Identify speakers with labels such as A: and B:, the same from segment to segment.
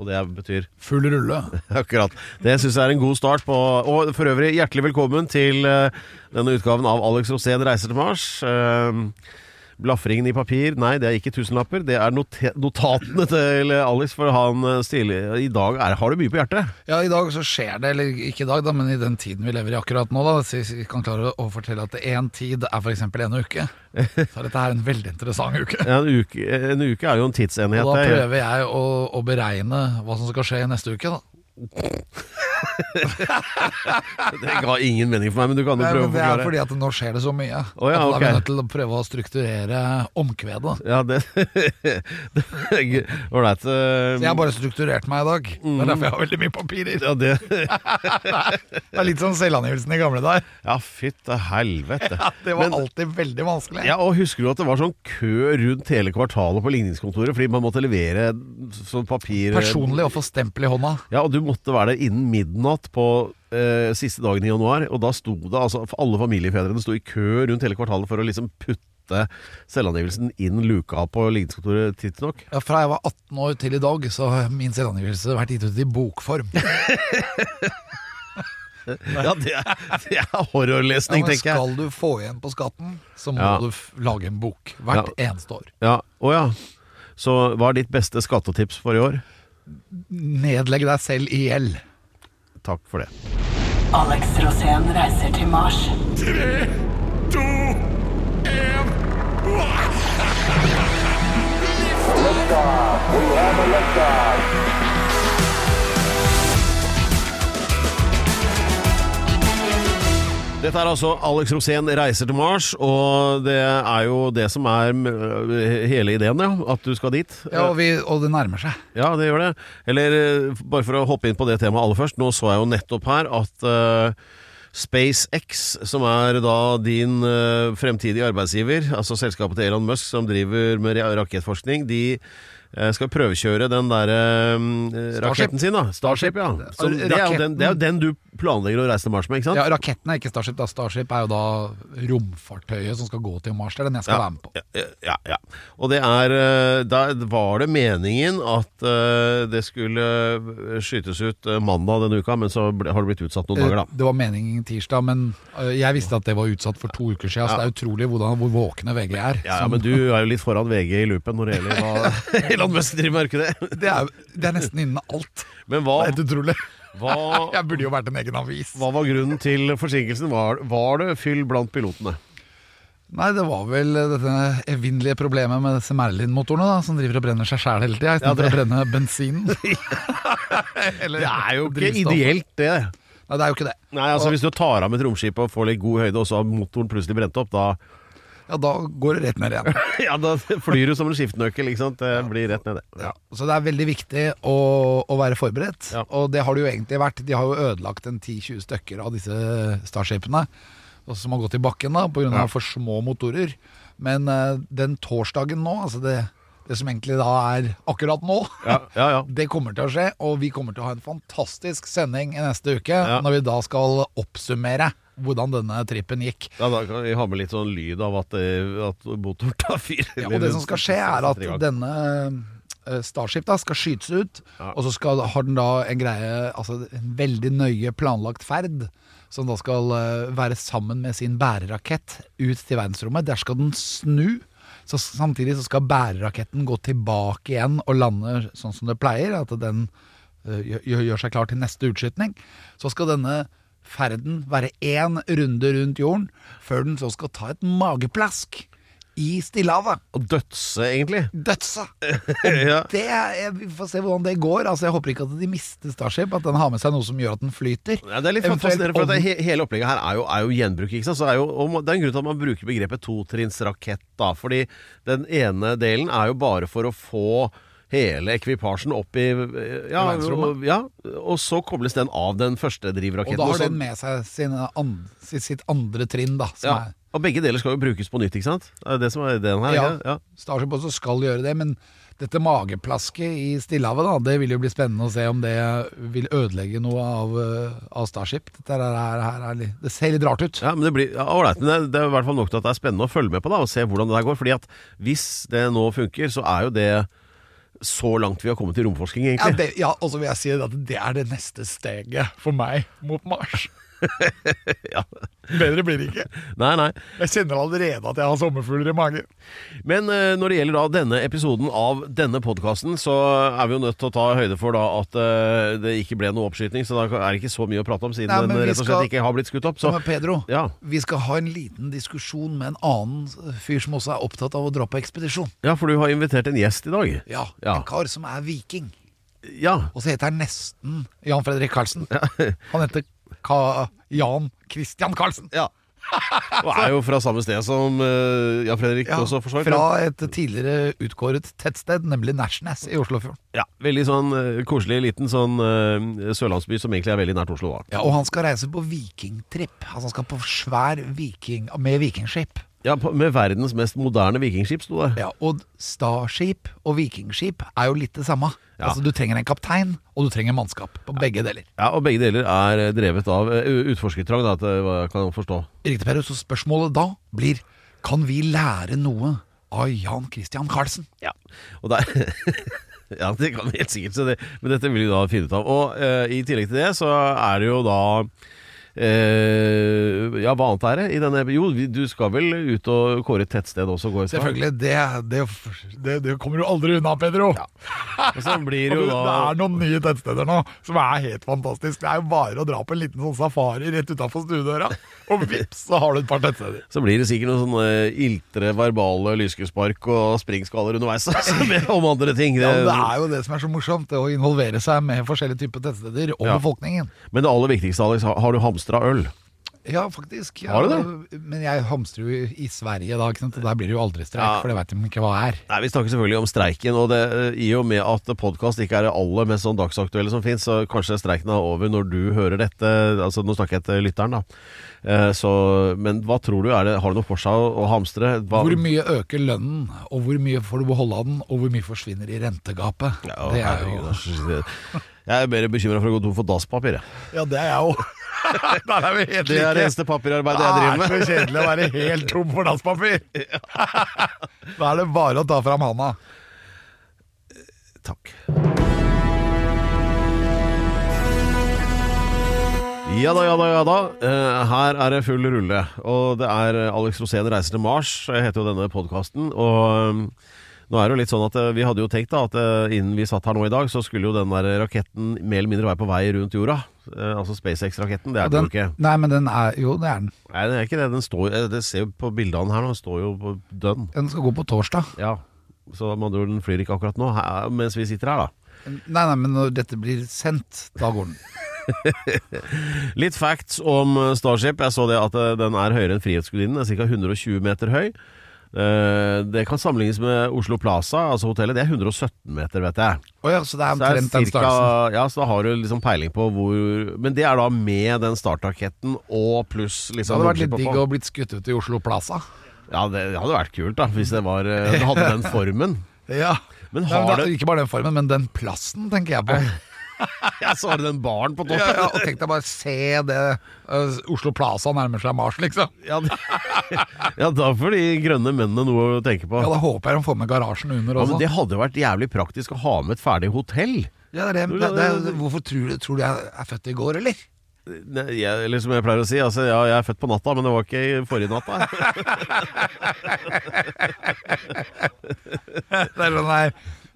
A: Og det betyr
B: Full rulle.
A: akkurat. Det syns jeg er en god start på Og for øvrig, hjertelig velkommen til eh, denne utgaven av Alex Rosén reiser til Mars. Eh, Blafringen i papir, nei det er ikke tusenlapper. Det er note- notatene til Alex, for han eh, stiller I dag er, har du mye på hjertet.
B: Ja, i dag så skjer det, eller ikke i dag da, men i den tiden vi lever i akkurat nå da, så vi kan klare å fortelle at én tid er for eksempel en uke. Så er dette her en veldig interessant uke.
A: En uke, en uke er jo en tidsenhet.
B: Og da
A: det er-
B: prøver jeg å, å beregne hva som skal skje neste uke da.
A: Det ga ingen mening for meg, men du kan jo
B: Nei,
A: prøve
B: men
A: å
B: det er
A: forklare.
B: fordi at nå skjer det så mye.
A: Å ja,
B: at da er vi
A: ok.
B: nødt til å prøve å strukturere omkvedet.
A: Ja, det det- Ålreit.
B: Så jeg har bare strukturert meg i dag.
A: Mm.
B: Det er derfor jeg har veldig mye papirer.
A: eh, Ja, det
B: Det er litt sånn selvangivelsen i gamle dager.
A: Ja, fytte helvete.
B: Det var
A: Men-
B: alltid veldig vanskelig.
A: Ja, og Husker du at det var sånn kø rundt hele kvartalet på ligningskontoret fordi man måtte levere sånn papir
B: Personlig å få stempel i hånda.
A: Ja, og du måtte være der innen midnatt på eh, siste dagen i januar. Og da sto det altså Alle familiefedrene sto i kø rundt hele kvartalet for å liksom putte selvangivelsen inn luka på ligningskontoret tidsnok.
B: Ja, fra jeg var 18 år til i dag, så har min selvangivelse vært gitt ut i bokform. Ja,
A: Ja, det er, det er horrorlesning,
B: men
A: tenker jeg.
B: skal du få igjen på skatten, så må
A: Ja.
B: du f lage en bok hvert eneste år.
A: Ja, Å ja. Så hva er ditt beste skattetips for i år?
B: Nedlegg deg selv i gjeld.
A: Takk for det.
C: Alex Rosén reiser til Mars.
A: Dette er altså Alex Rosén reiser til Mars, og det er jo det som er øh, hele ideen, ja. At du skal dit.
B: Ja, og, vi, og det nærmer seg.
A: Ja, det gjør det. Eller øh, bare for å hoppe inn på det temaet aller først. Nå så jeg jo nettopp her at øh, SpaceX, som er da din øh, fremtidige arbeidsgiver, altså selskapet til Elon Musk som driver med ra- rakettforskning, de øh, skal prøvekjøre den derre
B: Starship.
A: raketten sin, da. Starship, ja. Så det er, jo den, det er jo den du planlegger å reise til Mars med, ikke sant?
B: Ja, Raketten er ikke Starship. Da. Starship er jo da romfartøyet som skal gå til Mars. Det er den jeg skal være med på.
A: Ja, ja, ja. Og det er eh, Da var det meningen at eh, det skulle skytes ut eh, mandag denne uka, men så ble, har det blitt utsatt noen dager,
B: Eh,
A: da.
B: Det var meningen tirsdag, men eh, jeg visste at det var utsatt for to uker siden. Så det er utrolig hvordan, hvor våkne VG er.
A: Ja, ja,
B: som-
A: men du er jo litt foran VG i loopen når det gjelder hva Elon Musk driver med, er du ikke det?
B: det, er, jo- det er nesten innen alt.
A: Men hva,
B: Det er helt utrolig.
A: hva,
B: Jeg burde jo vært en egen avis.
A: hva var grunnen til forsinkelsen? Var, var det fyll blant pilotene?
B: Nei, det var vel dette evinnelige problemet med disse Merlin-motorene da, som driver og brenner seg sjæl hele tida, istedenfor å brenne bensinen. Eller
A: Det er jo ikke
B: drivstoff.
A: ideelt, det.
B: Nei, det er jo ikke det.
A: Nei, altså Hvis du tar av med et romskip og får litt god høyde, og så har motoren plutselig brent opp, da,
B: Ja, da går det rett ned igjen.
A: ja, da flyr du som en skiftenøkkel. Ikke sant? Det blir rett nede.
B: Ja. Så det er veldig viktig å, å være forberedt,
A: Ja.
B: og det har det jo egentlig vært. De har jo ødelagt en 10-20 stykker av disse Starshipene, og som har gått i bakken da, pga.
A: Ja.
B: av for små motorer. Men eh, den torsdagen nå, altså det, det som egentlig da er akkurat nå
A: Ja, ja, ja.
B: Det kommer til å skje, og vi kommer til å ha en fantastisk sending i neste uke,
A: Ja.
B: når vi da skal oppsummere hvordan denne trippen gikk.
A: Ja, da kan vi ha med litt sånn lyd av at, eh, at motoren tar fyr.
B: Ja, og det som skal skje er at
A: Tre ganger.
B: denne eh, Starship da skal skytes ut, og så skal, har den da en greie, altså en veldig nøye planlagt ferd, som da skal eh, være sammen med sin bærerakett ut til verdensrommet. Der skal den snu. Så samtidig så skal bæreraketten gå tilbake igjen og lande sånn som det pleier, at den eh, gjør- gjør, gjør seg klar til neste utskytning. Så skal denne ferden være én runde rundt jorden, før den så skal ta et mageplask i Stillehavet.
A: Og dødse, egentlig.
B: Dødsa!
A: ja.
B: Det er, vi får se hvordan det går. Altså, jeg håper ikke at de mister Starship, at den har med seg noe som gjør at den flyter.
A: Ja, det er litt
B: Eventuelt
A: fascinerende, for at det,
B: ovn-
A: he, hele opplegget her er jo, er jo gjenbruk. Ikke sant? Så det, er jo, og man- det er en grunn til at man bruker begrepet totrinnsrakett, da. Fordi den ene delen er jo bare for å få hele ekvipasjen opp i ja,
B: I verdensrommet?
A: og, ja, og så kobles den av den første
B: Og
A: drivraketten.
B: da
A: og
B: har
A: så-
B: den med seg sin an- sitt, sitt andre trinn, da. Som
A: ja,
B: er
A: Og begge deler skal jo brukes på nytt, ikke sant? Det er det som er ideen her.
B: Ja.
A: ikke? ja.
B: Starship også skal gjøre det, men dette mageplasket i Stillehavet, da, det vil jo bli spennende å se om det vil ødelegge noe av, eh, av Starship. Dette her, her, her, er litt- det ser litt rart ut.
A: Ja, men det blir ja, ålreit. Men det, er- det er i hvert fall nok til at det er spennende å følge med på da, og se hvordan det der går. Fordi at hvis det nå funker, så er jo det så langt vi har kommet i romforskning,
B: Ja,
A: egentlig.
B: det, ja, og så vil jeg si at det er det neste steget for meg mot Mars.
A: Ja.
B: Bedre blir det ikke.
A: Nei, nei.
B: Jeg kjenner allerede at jeg har sommerfugler i magen.
A: Men eh, når det gjelder da denne episoden av denne podkasten, så er vi jo nødt til å ta høyde for da at eh, det ikke ble noe oppskyting. Så da er det ikke så mye å prate om, siden
B: Nei, men
A: den
B: vi
A: rett og slett
B: skal-
A: ikke har blitt skutt opp.
B: Så
A: Så
B: med Pedro,
A: ja.
B: vi skal ha en liten diskusjon med en annen fyr som også er opptatt av å dra på ekspedisjon.
A: ja, for du har invitert en gjest i dag.
B: Ja,
A: Ja.
B: En kar som er viking.
A: Ja.
B: Og så heter han nesten Jan Fredrik Karlsen. Han heter Ka Jan Christian Karlsen.
A: Og er jo fra samme sted som eh, Jan Fredrik
B: Ja,
A: også, for så vidt.
B: fra et tidligere utkåret tettsted, nemlig Nærsnes i Oslofjorden.
A: Ja, veldig sånn eh, koselig liten sånn eh, sørlandsby som egentlig er veldig nært Oslo da.
B: Ja, og han skal reise på vikingtripp. Altså, han skal på svær viking med vikingskip.
A: Ja, på, med verdens mest moderne vikingskip sto det.
B: Ja, og Starskip og vikingskip er jo litt det samme.
A: Ja.
B: Altså, du trenger en kaptein, og du trenger mannskap på begge deler.
A: Ja, og begge deler er eh, drevet av eh, u- utforskertrang da, etter hva jeg kan forstå.
B: Riktig, Perro, så spørsmålet da blir kan vi lære noe av Jan Christian Karlsen?
A: Ja, og der... Ja, det kan vi helt sikkert, så det, men dette vil vi da finne ut av. Og eh, i tillegg til det så er det jo da, eh, ja, hva annet er det i denne? Jo, vi, du skal vel ut og kåre et tettsted også, går jeg ut fra?
B: Selvfølgelig. Det, det, det, det kommer du aldri unna, Pedro.
A: Og så blir
B: Og
A: det
B: du,
A: jo
B: det
A: da...
B: er noen nye tettsteder nå som er helt fantastisk. Det er jo bare å dra på en liten sånn safari rett utafor stuedøra, og vips, så har du et par tettsteder.
A: Så blir det sikkert noen sånne eh, iltre verbale lyskespark og springskaller underveis med om andre ting. Eh, Det,
B: Ja, men det er jo det som er så morsomt, det å involvere seg med forskjellige typer tettsteder og
A: Ja.
B: befolkningen.
A: men det aller viktigste, Alex, har- har du hamstra øl?
B: Ja, faktisk. Ja,
A: Har du
B: Men jeg hamstrer jo i Sverige da, ikke sant? og der blir det jo aldri streik,
A: Ja.
B: for det veit de ikke hva er.
A: Nei, Vi snakker selvfølgelig om streiken, og det, eh, i og med at podkast ikke er det aller mest sånn dagsaktuelle som fins, så kanskje streiken er over når du hører dette. Altså, Nå snakker jeg til lytteren, da. Eh, Så, men hva tror du? Er det, har det noe for seg å, å hamstre? Hva,
B: Hvor mye øker lønnen, og hvor mye får du beholde av den, og hvor mye forsvinner i rentegapet?
A: Ja,
B: det er
A: herregud,
B: jo
A: altså. Jeg er mer bekymra for å gå tom for dasspapir. jeg.
B: Ja, det er jeg òg. Der er vi helt
A: Det er det eneste papirarbeidet jeg driver med.
B: Det er så kjedelig å være helt tom for dasspapir. Da er det bare å ta fram handa.
A: Takk. Ja da, ja da, ja da. Eh, her er det full rulle. Og det er eh, Alex Rosén reiser til Mars, jeg heter jo denne podkasten. Og eh, nå er det jo litt sånn at eh, vi hadde jo tenkt da at eh, innen vi satt her nå i dag, så skulle jo den der raketten mer eller mindre være på vei rundt jorda. Eh, altså SpaceX-raketten. Det er den jo ikke.
B: nei, men den er Jo, det er den.
A: Nei, det er ikke det. Den står, eh, det ser jo på bildene her nå, den står jo på dønn.
B: Den skal gå på torsdag.
A: Ja. Så med andre ord, den flyr ikke akkurat nå, her, mens vi sitter her, da.
B: Nei, nei, men når dette blir sendt, da går den.
A: Litt facts om eh, Starship. Jeg så det at eh, den er høyere enn Frihetsgudinnen. Den er ca. 120 meter høy. Eh, Det kan sammenlignes med Oslo Plaza, altså hotellet. Det er 117 meter, vet jeg.
B: Å ja, så det er
A: Så, det er
B: omtrent den
A: cirka,
B: størrelsen.
A: ja, så da har du liksom peiling på hvor Men det er da med den startraketten og pluss
B: Det
A: liksom
B: hadde vært litt
A: romskipet
B: digg
A: på.
B: å blitt skutt ut i Oslo Plaza.
A: Ja, det hadde vært kult, da, hvis det var eh, det hadde den formen.
B: Ja.
A: Men
B: Nei, men
A: har
B: da,
A: det
B: ikke bare den formen, men den plassen tenker jeg på.
A: Ja, så har det den baren på
B: Ja, ja,
A: toppen.
B: og tenk deg bare se det eh, Oslo Plaza nærmer seg Mars, liksom.
A: Ja, ja, da får de grønne mennene noe å tenke på.
B: Ja, Da håper jeg de får med garasjen under
A: Ja,
B: også.
A: men det hadde vært jævlig praktisk å ha med et ferdig hotell.
B: Ja, det er det. det, det hvorfor tror du, tror du jeg er født i går, eller?
A: Ne, Jeg, eller som jeg pleier å si, altså, ja, jeg er født på natta, men det var ikke i forrige natta.
B: Det er sånn, nei,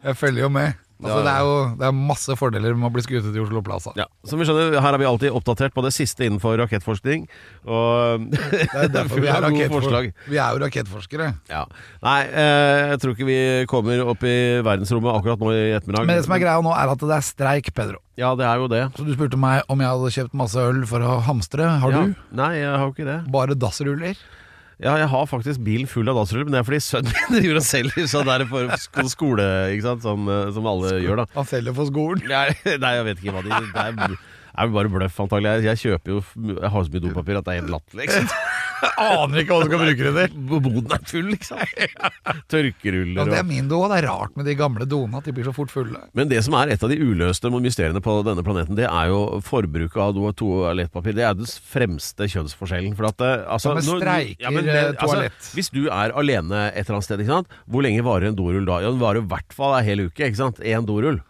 B: jeg følger jo med. Altså,
A: Ja, ja.
B: Det er jo det er masse fordeler med å bli skutet i Oslo Plaza.
A: Ja, som vi skjønner, her er vi alltid oppdatert på det siste innenfor rakettforskning. Og
B: Det er derfor vi er,
A: Gode
B: rakettfor-
A: forslag.
B: vi er jo rakettforskere.
A: Ja. Nei, eh, jeg tror ikke vi kommer opp i verdensrommet akkurat nå i ettermiddag.
B: Men det som er greia nå, er at det er streik, Pedro.
A: Ja, det er jo det.
B: Så du spurte meg om jeg hadde kjøpt masse øl for å hamstre. Har
A: ja.
B: du?
A: Nei, jeg har jo ikke det.
B: Bare dassruller?
A: Ja, jeg har faktisk bilen full av datasruller, men det er fordi sønnen min driver og selger sånn der for sko- skole, ikke sant, som, eh, som alle gjør, da.
B: Han selger for skolen.
A: Nei, nei, jeg vet ikke hva de Det er, er vel bare bløff, antagelig. Jeg, jeg kjøper jo f- Jeg har så mye dopapir at det er helt latterlig. ikke sant?
B: Aner ikke hva du skal bruke det til.
A: Boden er full, liksom.
B: Ja,
A: Tørkeruller
B: det
A: og
B: er min do, og det er rart med de gamle doene at de blir så fort fulle.
A: Men det som er et av de uløste mysteriene på denne planeten, det er jo forbruket av do- og toalettpapir. Det er den fremste kjønnsforskjellen. For at, eh, altså,
B: Ja, men
A: når-
B: streiker,
A: det- altså,
B: eh, toalett.
A: hvis du er alene et eller annet sted, ikke sant? hvor lenge varer en dorull da? Ja, den varer i hvert fall en hel uke. ikke sant? Én dorull.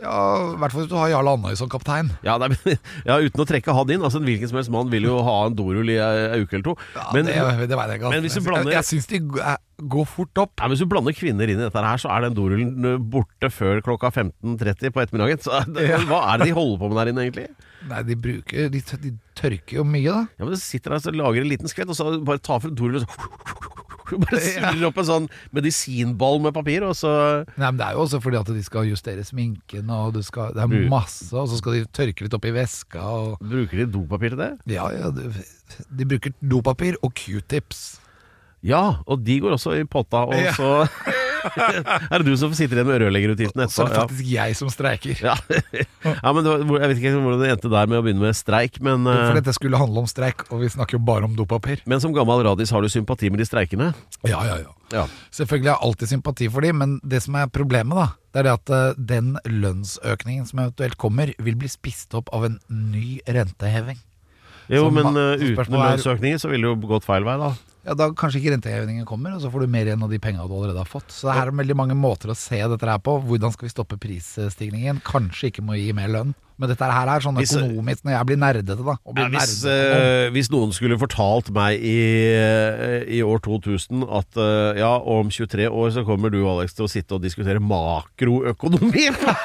B: Ja, I hvert fall hvis du har Jarl Andøy som kaptein.
A: Ja, nei, men, ja, uten å trekke han inn. Altså, en hvilken som helst mann vil jo ha en dorull i ei uke eller to.
B: Ja,
A: men,
B: det, det vet jeg ikke. altså.
A: men hvis du
B: Jeg-
A: blander-
B: Jeg, jeg syns de g- er- går fort opp.
A: Nei, men Hvis du blander kvinner inn i dette, her, så er den dorullen eh, borte før klokka 15.30 på ettermiddagen. Så, er det- Hva er det de holder på med der inne, egentlig?
B: Nei, de bruker De, tø- de tørker jo mye, da.
A: Ja, men Du sitter der og lager en liten skvett, og så bare tar fra dorullen og så Bare surrer opp en sånn medisinball med papir, og så
B: Nei, men Det er jo også fordi at de skal justere sminken, og du skal, det
A: Mm.
B: er masse, og så skal de tørke litt opp i veska. Og,
A: Bruker de dopapir til det?
B: ja, ja, de, de bruker dopapir og q-tips.
A: Ja, og de går også i potta, og
B: Ja.
A: så Er det du som sitter igjen med rørleggerutgiftene
B: Så er det
A: etterpå?
B: faktisk jeg som streiker.
A: Ja. Ja. ja, men det var, Jeg vet ikke hvordan det endte der med å begynne med streik, men, eh,
B: For dette skulle handle om streik, og vi snakker jo bare om dopapir.
A: men som gammel radis har du sympati med de streikende?
B: Ja, ja, ja.
A: Ja.
B: Selvfølgelig har jeg alltid sympati for dem, men det som er problemet, da, det er det at eh, den lønnsøkningen som eventuelt kommer, vil bli spist opp av en ny renteheving.
A: Jo,
B: Så
A: men
B: ma-
A: eh,
B: så
A: uten
B: spørsmålet er-
A: lønnsøkninger så ville det jo gått feil vei, da.
B: Ja, Da kanskje ikke rentehevingen kommer, og så får du mer igjen av de pengene du allerede har fått. Så det her er veldig mange måter å se dette her på. Hvordan skal vi stoppe prisstigningen? Kanskje ikke må gi mer lønn. Men dette her er sånn
A: Hvis-
B: økonomisk, når jeg blir nerdete, da. Og
A: Ja,
B: blir
A: hvis,
B: nerdete.
A: eh, hvis noen skulle fortalt meg i, i år 2000 at eh, ja, om 23 år så kommer du, Alex, til å sitte og diskutere makroøkonomi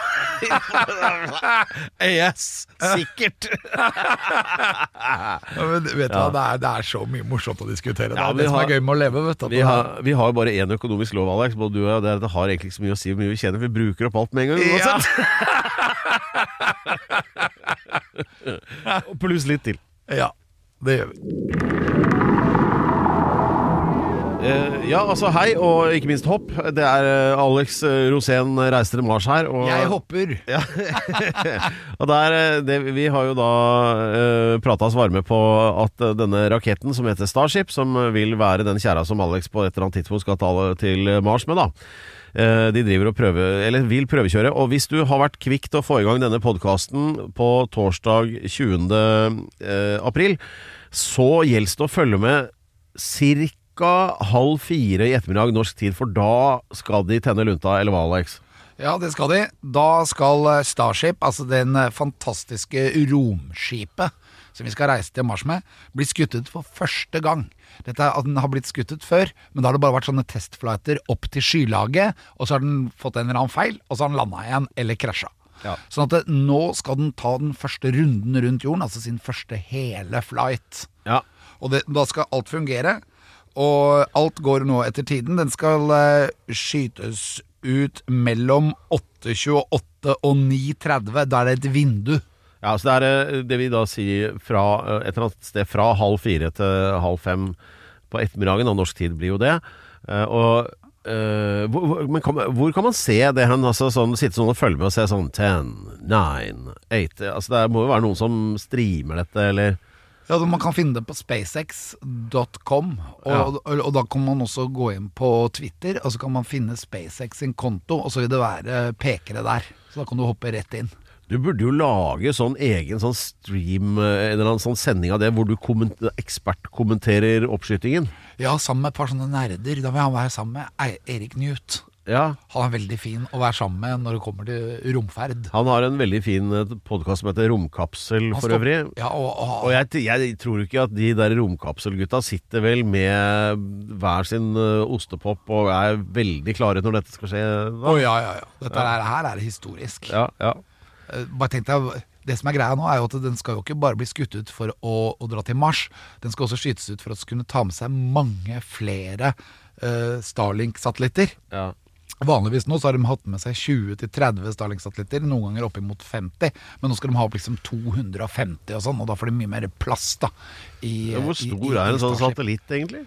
A: Yes, sikkert!
B: Ja, men vet du hva, det er, det er så mye morsomt å diskutere. Det
A: Ja,
B: er
A: vi
B: det som
A: har-
B: er gøy med å leve, vet du. at
A: Vi
B: det er-
A: har, vi har jo bare én økonomisk lov, Alex. Både du og jeg, og det, er at det har egentlig ikke så mye å si hvor mye vi tjener. Vi bruker opp alt med en gang uansett. Og Pluss litt til.
B: Ja, det gjør vi.
A: Eh, ja, altså hei, og ikke minst hopp. Det er eh, Alex eh, Rosén reiser til Mars her. Og
B: Jeg hopper.
A: Ja. og der, eh, det, vi har jo da uh, prata oss varme på at eh, denne raketten som heter Starship, som eh, vil være den kjerra som Alex på et eller annet tidspunkt skal ta til eh, Mars med, da. Eh, De driver og prøver, eller vil prøvekjøre. Og hvis du har vært kvikk til å få i gang denne podkasten på torsdag 20. eh, april, så gjelder det å følge med ca. halv fire i ettermiddag norsk tid, for da skal de tenne lunta, eller hva, Alex?
B: Ja, det skal de. Da skal eh, Starship, altså den eh, fantastiske romskipet som vi skal reise til Mars med, bli skutt ut for første gang. Dette er at Den har blitt skutt ut før, men da har det bare vært sånne testflighter opp til skylaget, og så har den fått en eller annen feil, og så har den landa igjen eller krasja.
A: Ja.
B: Sånn at det, nå skal den ta den første runden rundt jorden, altså sin første hele flight.
A: Ja.
B: Og det, da skal alt fungere. Og alt går nå etter tiden. Den skal eh, skytes ut mellom 8.28 og 9.30. Da er det et vindu.
A: Ja, så det er eh, det vi da sier fra eh, et eller annet sted fra halv fire til halv fem på ettermiddagen, og norsk tid blir jo det. Eh, Og eh, hvor, hvor- men kan, man- hvor kan man se det hen? Altså, sånn, sitte sånn og følge med og se sånn 10, 9, 8 altså, Det er- må jo være noen som streamer dette, eller
B: Ja, så Man kan finne det på spacex.com. Og,
A: Ja.
B: og, og da kan man også gå inn på Twitter, og så kan man finne SpaceX sin konto, og så vil det være pekere der. Så da kan du hoppe rett inn.
A: Du burde jo lage sånn egen sånn stream, eh, en eller annen sånn sending av det, hvor du komment- ekspertkommenterer oppskytingen.
B: Ja, sammen med et par sånne nerder. Da vil han være sammen med Ei- Erik Newt.
A: Ja.
B: Han er veldig fin å være sammen med når det kommer til romferd.
A: Han har en veldig fin podkast som heter Romkapsel,
B: Han
A: for
B: står-
A: øvrig.
B: Ja, og, og,
A: Og jeg, t- jeg tror ikke at de der romkapselgutta sitter vel med hver sin ø, ostepop og er veldig klare når dette skal skje. Da.
B: Å, ja, ja, ja. Dette her- her er historisk.
A: Ja, ja.
B: Eh, Bare tenk deg, det som er greia nå, er jo at den skal jo ikke bare bli skutt ut for å, å dra til Mars. Den skal også skytes ut for å kunne ta med seg mange flere eh, Starlink-satellitter.
A: ja.
B: Vanligvis nå så har de hatt med seg 20-30 Starlink-satellitter, noen ganger oppimot 50. Men nå skal de ha opp liksom 250 og sånn, og da får de mye mer plass da. I,
A: Hvor
B: i- i-
A: stor er
B: i
A: en sånn
B: Starship.
A: satellitt, egentlig?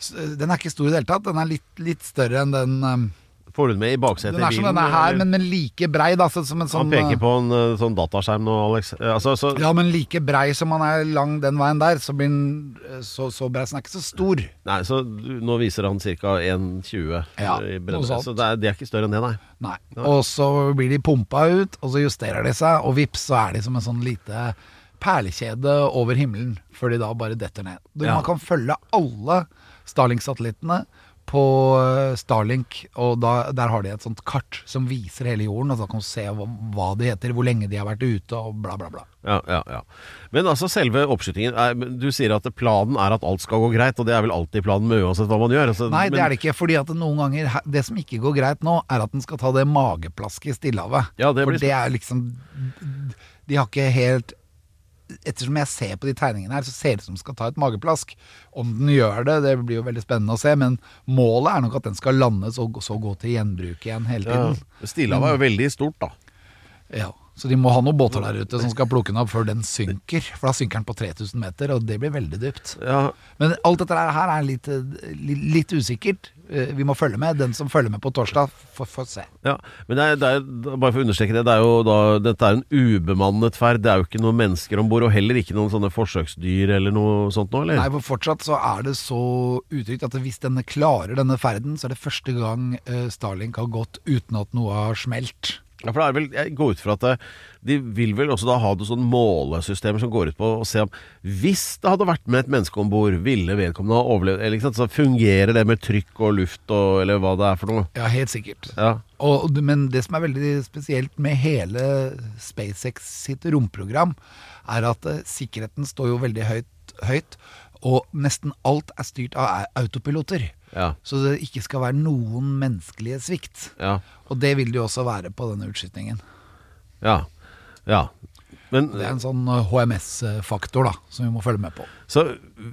B: s- Den er ikke stor i det hele tatt. Den er litt, litt større enn den eh,
A: Får du den med i baksetet
B: Den er
A: i
B: som
A: bilen?
B: denne her,
A: eller?
B: men, men like brei, da. Så, som en
A: Han
B: sånn
A: peker
B: eh,
A: på en eh, sånn dataskjerm nå, Alex. Eh, Altså, så,
B: Ja, men like brei som han er lang den veien der, så blir den eh, så, så brei, så den er ikke så stor.
A: Nei, så du- nå viser han ca. 1,20
B: Ja,
A: eh, i
B: noe
A: bredde.
B: sånt.
A: Så det er, det er ikke større enn det, nei.
B: Nei. Og så blir de pumpa ut, og så justerer de seg, og vips, så er de som en sånn lite perlekjede over himmelen, før de da bare detter ned. Du,
A: Ja.
B: Man kan følge alle Starlink-satellittene på eh, Starlink, og da, der har de et sånt kart som viser hele jorden, og så kan du se hva, hva de heter, hvor lenge de har vært ute, og bla, bla, bla.
A: Ja, ja, ja. Men altså selve oppskytingen er, men Du sier at planen er at alt skal gå greit, og det er vel alltid planen med uansett hva man gjør. Altså,
B: Nei, det er det ikke, fordi at noen ganger he- Det som ikke går greit nå, er at den skal ta det mageplasket i Stillehavet.
A: Ja, det blir
B: For det er liksom De har ikke helt Ettersom jeg ser på de tegningene her, så ser det ut som den skal ta et mageplask. Om den gjør det, det blir jo veldig spennende å se, men målet er nok at den skal landes og så gå til gjenbruk igjen hele tiden.
A: Ja. Stillehavet er jo veldig stort, da.
B: Ja. Så de må ha noen båter der ute som skal plukke den opp før den synker, for da synker den på 3000 meter, og det blir veldig dypt.
A: Ja,
B: Men alt dette her er litt, eh, li- litt usikkert. Eh, Vi må følge med. Den som følger med på torsdag, får, får se.
A: ja. Men det er, det er, bare for å understreke det, det er jo da, dette er en ubemannet ferd. Det er jo ikke noen mennesker om bord, og heller ikke noen sånne forsøksdyr eller noe sånt nå, eller?
B: Nei, for Fortsatt så er det så utrygt at hvis denne klarer denne ferden, så er det første gang eh, Starlink har gått uten at noe har smelt.
A: Ja, for det er vel, Jeg går ut fra at eh, de vil vel også da ha noen sånne målesystemer som går ut på å se om Hvis det hadde vært med et menneske om bord, ville vedkommende ha overlevd? Eller, ikke sant? Så Fungerer det med trykk og luft og eller hva det er for noe?
B: Ja, helt sikkert.
A: Ja,
B: Og, og det- men det som er veldig spesielt med hele SpaceX sitt romprogram, er at eh, sikkerheten står jo veldig høyt, høyt og nesten alt er styrt av au- autopiloter.
A: ja,
B: Så det ikke skal være noen menneskelige svikt.
A: ja,
B: Og det vil det jo også være på denne utskytningen.
A: ja, ja. Men
B: Det er en sånn HMS-faktor da, som vi må følge med på.
A: så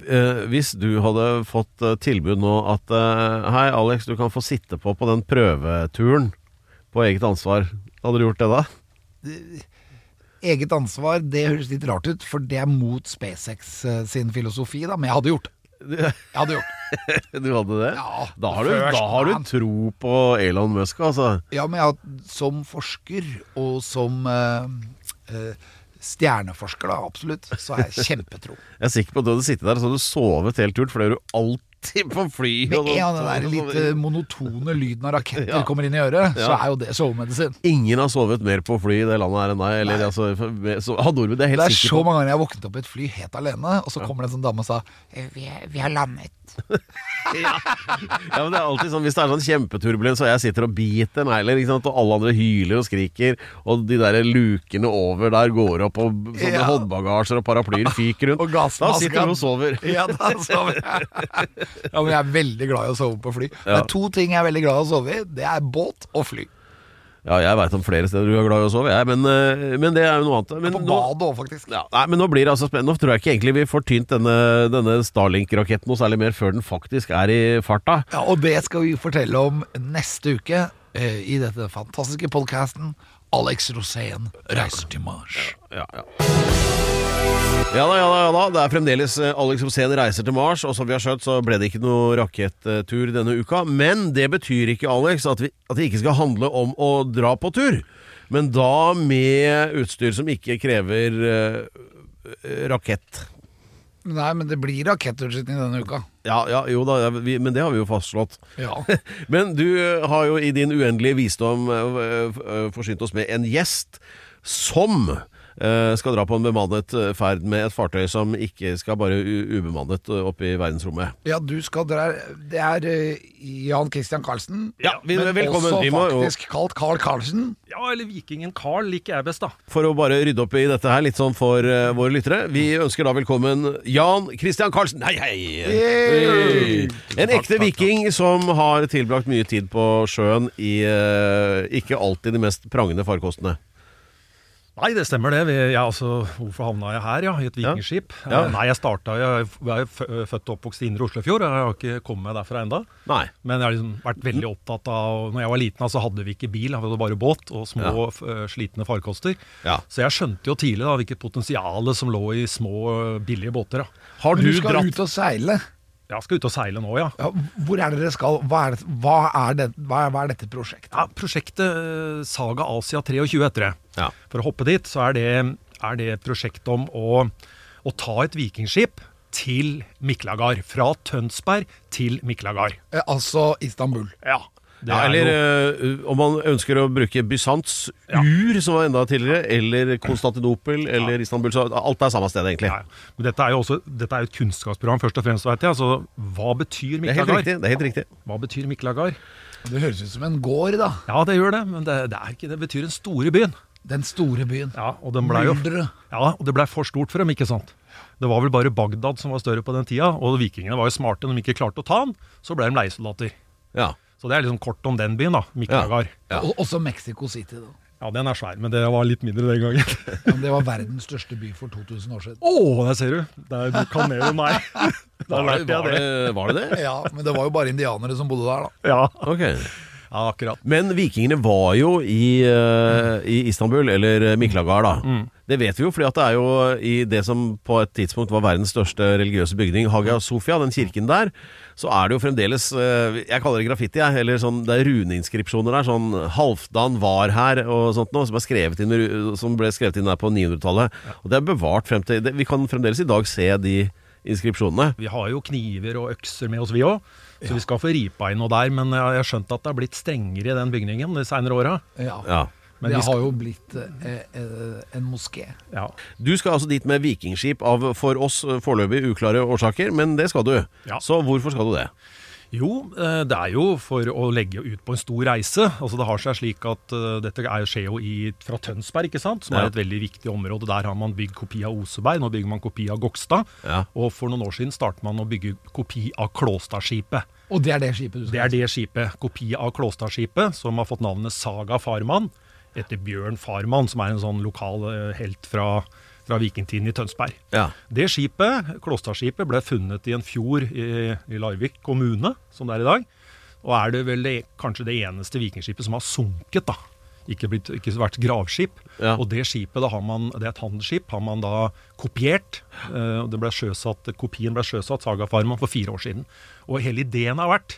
A: eh, hvis du hadde fått eh, tilbud nå at eh, Hei, Alex, du kan få sitte på på den prøveturen på eget ansvar. Hadde du gjort det da?
B: Eget ansvar, det høres litt rart ut, for det er mot SpaceX eh, sin filosofi, da. Men jeg hadde gjort det. Jeg hadde gjort det.
A: Du hadde det?
B: Ja,
A: da har, du,
B: first
A: da har du
B: man.
A: tro på Elon Musk, altså.
B: Ja, men jeg har, som forsker og som eh, eh, stjerneforsker, da, absolutt, så har jeg kjempetro.
A: Jeg er sikker på at du hadde sittet der og så hadde du sovet helt turt, for det gjør du alltid på fly. og
B: Med en av
A: sånt.
B: den der litt eh, monotone lyden av raketter
A: Ja.
B: kommer inn i øret, så
A: Ja.
B: er jo det sovemedisin.
A: Ingen har sovet mer på fly i det landet her enn deg. Eller, altså, så, hadde nordmenn, det er jeg
B: Det
A: helt
B: er så
A: sikker på.
B: mange ganger jeg har våknet opp i et fly helt alene, og så kommer det en sånn dame og sa vi, vi har landet.
A: Ja, men det er alltid sånn, Hvis det er sånn kjempeturbulens, og jeg sitter og biter negler, ikke sant, og alle andre hyler og skriker, og de der lukene over der går opp, og sånne
B: Ja.
A: håndbagasjer og paraplyer fyker rundt,
B: Og
A: da
B: gassmasken.
A: sitter du og sover.
B: Ja, da sover jeg. Ja, men jeg er veldig glad i å sove på fly. Det
A: Ja.
B: er to ting jeg er veldig glad i å sove i. Det er båt og fly.
A: Ja, jeg veit om flere steder du er glad i å sove, jeg, men, eh, men det er jo noe annet. Men
B: På
A: nå-
B: badet òg, faktisk.
A: Ja, nei, men nå blir det altså spennende. Nå tror jeg ikke egentlig vi får tynt denne, denne Starlink-raketten noe særlig mer før den faktisk er i farta.
B: Ja, og det skal vi fortelle om neste uke eh, i dette fantastiske podkasten. Alex Rosén reiser til Mars.
A: Ja, ja. Ja da, ja da, ja da. Det er fremdeles eh, Alex Rosén reiser til Mars, og som vi har skjønt, så ble det ikke noe rakettur denne uka. Men det betyr ikke, Alex, at, vi, at det ikke skal handle om å dra på tur. Men da med utstyr som ikke krever eh, rakett.
B: Nei, men det blir rakettutskyting denne uka.
A: Ja, ja, jo da, ja, vi, men det har vi jo fastslått.
B: Ja.
A: Men du eh, har jo i din uendelige visdom eh, f- eh, forsynt oss med en gjest som eh, skal dra på en bemannet eh, ferd med et fartøy som ikke skal bare u ubemannet eh, opp i verdensrommet.
B: Ja, du skal dra Det er eh, Jan Christian Karlsen.
A: Ja, vi-
B: men
A: velkommen.
B: også
A: Vi må jo-
B: faktisk kalt Carl Karlsen.
D: Ja, eller vikingen Carl liker jeg best, da.
A: For å bare rydde opp i dette her litt sånn for eh, våre lyttere, vi ønsker da velkommen Jan Christian Karlsen. Hei, hei! Hei. En ekte viking som har tilbrakt mye tid på sjøen i eh, ikke alltid de mest prangende farkostene.
D: Nei, det stemmer det. Vi- Jeg, altså, hvorfor havna jeg her, ja? I et vikingskip?
A: Ja.
D: Eh, Nei, jeg starta Jeg jeg er fø- eh, født og oppvokst i Indre Oslofjord, og jeg har ikke kommet meg derfra enda.
A: Nei.
D: Men jeg har liksom vært veldig opptatt av Når jeg var liten, så hadde vi ikke bil, hadde bare båt og små,
A: Ja.
D: f- eh, slitne farkoster.
A: Ja.
D: Så jeg skjønte jo tidlig da hvilket potensial som lå i små, eh, billige båter. da.
A: Har
B: Men
A: du,
B: du skal
A: dratt
B: ut og seile.
D: Ja, skal ut og seile nå, ja.
B: Ja, hvor er dere skal? Hva er, det, hva er, det, hva er, hva er dette prosjektet?
D: ja prosjektet eh, Saga Asia 23 etter det.
A: Ja.
D: For å hoppe dit, så er det, er det et prosjekt om å, å ta et vikingskip til Miklagard. Fra Tønsberg til Miklagard.
B: Eh, Altså Istanbul.
D: Ja. Det
A: Ja,
D: er
A: eller
D: jo-
A: eh, om man ønsker å bruke Bysants ur, som var enda tidligere, eller Konstantinopel eller Istanbul. Så alt er samme sted, egentlig.
D: ja, ja. Men dette er jo også dette er jo et kunnskapsprogram, først og fremst, vet jeg. Altså, hva betyr
A: Det er helt
D: Miklagard?
A: riktig. det er helt riktig
D: Hva betyr Miklagard?
B: Det høres ut som en gård, da.
D: Ja, det gjør det, men det, det er ikke det. betyr den store byen.
B: Den store byen.
D: Ja, og den ble jo
B: Myldre.
D: Ja, og det blei for stort for dem, ikke sant? Det var vel bare Bagdad som var større på den tida, og vikingene var jo smarte. Når de ikke klarte å ta den, så ble de leiesoldater.
A: Ja.
D: Så det er liksom kort om den byen, da. Miklagard.
A: Ja.
B: Og, også Mexico City, da.
D: Ja. den er svær, men det var litt mindre den gangen.
B: Men det var verdens største by for 2000 år siden.
D: Å, der ser du! Der, du kan mer enn meg. Da
A: Var det
D: lærte
A: var
D: jeg det.
A: det, var det, det?
B: Ja, men det var jo bare indianere som bodde der, da.
D: Ja,
A: Ok.
D: ja akkurat.
A: Men vikingene var jo i, eh, i Istanbul, eller Miklagard, da. Det vet vi jo, fordi at det er jo i det som på et tidspunkt var verdens største religiøse bygning, Hagia Sofia, den kirken der, så er det jo fremdeles eh, Jeg kaller det graffiti, jeg. Eller sånn, det er runeinskripsjoner der. Sånn 'Halvdan var her' og sånt noe, som, er skrevet inn, med ru- som ble skrevet inn der på 900-tallet. Og det er bevart frem til det, Vi kan fremdeles i dag se de inskripsjonene.
D: Vi har jo kniver og økser med oss, vi òg. Så vi skal få ripa inn noe der. Men jeg jeg har skjønt at det har blitt strengere i den bygningen de seinere åra.
B: Ja.
A: Ja.
D: Men
B: det
D: vi skal-
B: har jo blitt eh, eh, en moské.
D: Ja.
A: Du skal altså dit med vikingskip av for oss eh, foreløpig uklare årsaker, men det skal du.
D: Ja.
A: Så hvorfor skal du det?
D: Jo, eh, det er jo for å legge ut på en stor reise. Altså Det har seg slik at eh, dette er, skjer jo i, fra Tønsberg, ikke sant? som
A: Ja.
D: er et veldig viktig område. Der har man bygd kopi av Oseberg, nå bygger man kopi av Gokstad.
A: Ja.
D: Og for noen år siden startet man å bygge kopi av Klåstadskipet.
B: Og det er det skipet du
D: Det
B: skal
D: er det skipet, kopi av Klåstadskipet, som har fått navnet Saga Farmann, etter Bjørn Farmann, som er en sånn lokal eh, helt fra, fra vikingtiden i Tønsberg.
A: Ja.
D: Det skipet, Klåstadskipet, ble funnet i en fjord i, i Larvik kommune, som det er i dag. Og er det vel det, kanskje det eneste vikingskipet som har sunket, da. Ikke, blitt, ikke vært gravskip.
A: Ja.
D: Og det skipet, da har man, det er et handelsskip, har man da kopiert. eh, og det ble sjøsatt, kopien ble sjøsatt, Saga Farman, for fire år siden. Og hele ideen har vært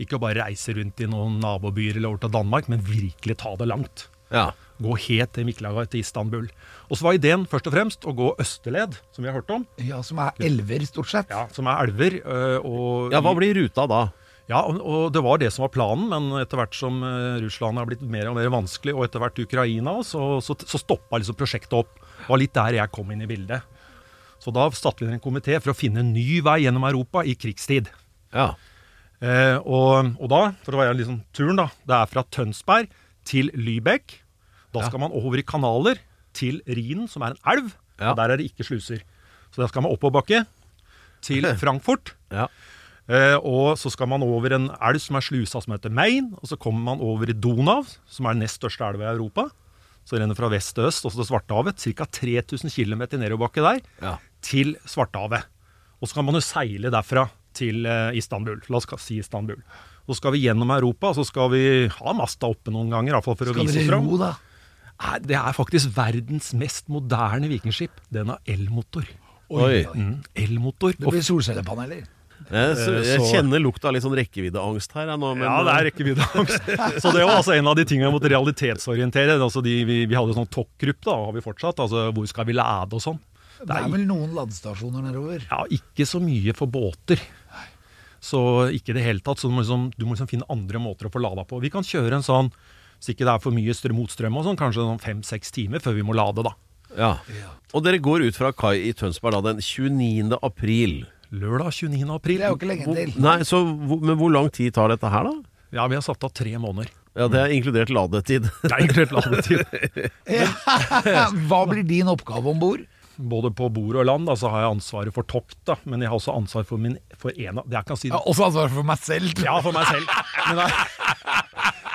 D: ikke å bare reise rundt i noen nabobyer eller over til Danmark, men virkelig ta det langt.
A: Ja.
D: Gå helt til Miklagard til Istanbul. Og så var ideen først og fremst å gå østerled, som vi har hørt om.
B: Ja, som er elver, stort sett.
D: Ja, som er elver. øh, Og,
A: ja, hva blir ruta da?
D: Ja, og, og det var det som var planen, men etter hvert som øh, Russland har blitt mer og mer vanskelig, og etter hvert Ukraina, så, så, så stoppa liksom prosjektet opp. Det var litt der jeg kom inn i bildet. Så da satte vi ned en komité for å finne en ny vei gjennom Europa i krigstid.
A: Ja.
D: Eh, og, og da, for å være liksom turen, da, det er fra Tønsberg til Lybekk. Da skal man over i kanaler til Rhinen, som er en elv.
A: Ja.
D: Og der er det ikke sluser. Så da skal man oppoverbakke til Frankfurt.
A: Ja.
D: Eh, og så skal man over en elv som er slusa, som heter Main. Og så kommer man over i Donau, som er den nest største elva i Europa. Så renner fra vest til øst, også til Svartehavet. Ca. 3000 km i nedoverbakke der,
A: Ja.
D: til Svartehavet. Og så kan man jo seile derfra til eh, Istanbul. La oss ka- si Istanbul. Så skal vi gjennom Europa, og så skal vi ha masta oppe noen ganger. i hvert fall for å
B: Skal
D: vise oss
B: dere
D: fram.
B: ro, da?
D: Nei, Det er faktisk verdens mest moderne vikingskip. Den har elmotor.
A: Oi.
D: Mm, elmotor.
B: Det blir solcellepaneler.
A: Jeg, så,
D: Eh,
A: jeg
D: så-
A: kjenner lukta av litt sånn rekkeviddeangst her jeg, nå, men
D: ja, det er rekkeviddeangst. Så det var altså en av de tingene jeg måtte realitetsorientere. Altså de, vi, vi hadde en sånn tokkgruppe, da, har vi fortsatt. Altså hvor skal vi lade og sånn.
B: Det er vel noen ladestasjoner nedover.
D: Ja, ikke så mye for båter. Så ikke i det hele tatt. Så du må, liksom, du må liksom finne andre måter å få lada på. Vi kan kjøre en sånn, hvis ikke det er for mye strøm motstrøm og sånn, kanskje sånn fem-seks timer før vi må lade, da.
A: eh, Ja. Og dere går ut fra kai i Tønsberg da den 29. april.
D: Lørdag 29. april.
B: Det er jo ikke lenge til.
A: Nei, så hvor- Men hvor lang tid tar dette her, da?
D: Ja, vi har satt av tre måneder.
A: Ja, Det er inkludert ladetid.
D: Det er egentlig helt ladetid.
B: Hva blir din oppgave om bord?
D: Både på bord og land da, så har jeg ansvaret for tokt, da. Men jeg har også ansvar for, min, for en av Det jeg kan si
B: Jeg har også ansvaret for meg selv.
D: Ja, for meg selv. Men, det er,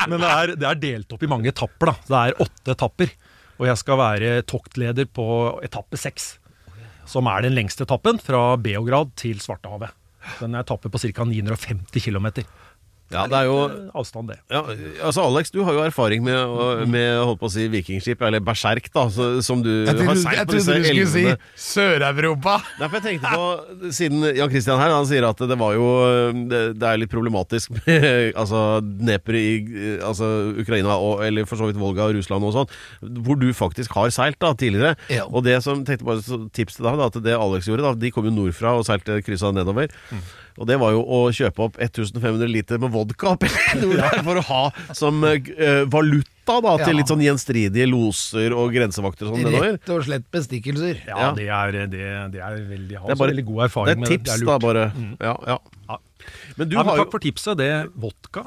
D: men det, er, det er delt opp i mange etapper. da. Det er åtte etapper. Og jeg skal være toktleder på etappe seks. Som er den lengste etappen, fra Beograd til Svartehavet. Den er etappe på ca. 950 km.
A: Ja, det er jo
D: eh, avstand, det.
A: ja, altså Alex, du har jo erfaring med, å- med holdt på å si vikingskip, eller berserk, da, så- som du
B: Jeg
A: har
B: trodde,
A: seilt
B: jeg
A: på disse
B: trodde du skulle si
A: elvene.
B: Sør-Europa!
A: Nei, for jeg tenkte på, siden Jan Christian her, han sier at det var jo Det, det er litt problematisk med altså, Dnepr i eh, altså, Ukraina, og, eller for så vidt Volga og Russland og sånn, hvor du faktisk har seilt da, tidligere.
B: Ja.
A: Og det som tenkte bare så tips til deg, da, at det Alex gjorde, da, de kom jo nordfra og seilte kryssa nedover.
B: Mm.
A: Og det var jo å kjøpe opp 1500 liter med vodka opp i Nordland for å ha som eh, valuta. Da,
B: Ja.
A: til litt sånn gjenstridige loser og grensevakter og sånn nedover.
B: Rett og slett bestikkelser.
D: Ja,
A: Ja.
D: det er, det, det er
A: Det er
D: veldig, jeg har også
A: bare-
D: Altså, veldig god erfaring
A: Det
D: med
A: er tips, da, bare. Ja, ja.
D: Mm. Ja.
A: Men du
D: Ja, men
A: har
D: takk
A: jo
D: for tipset. Det vodka.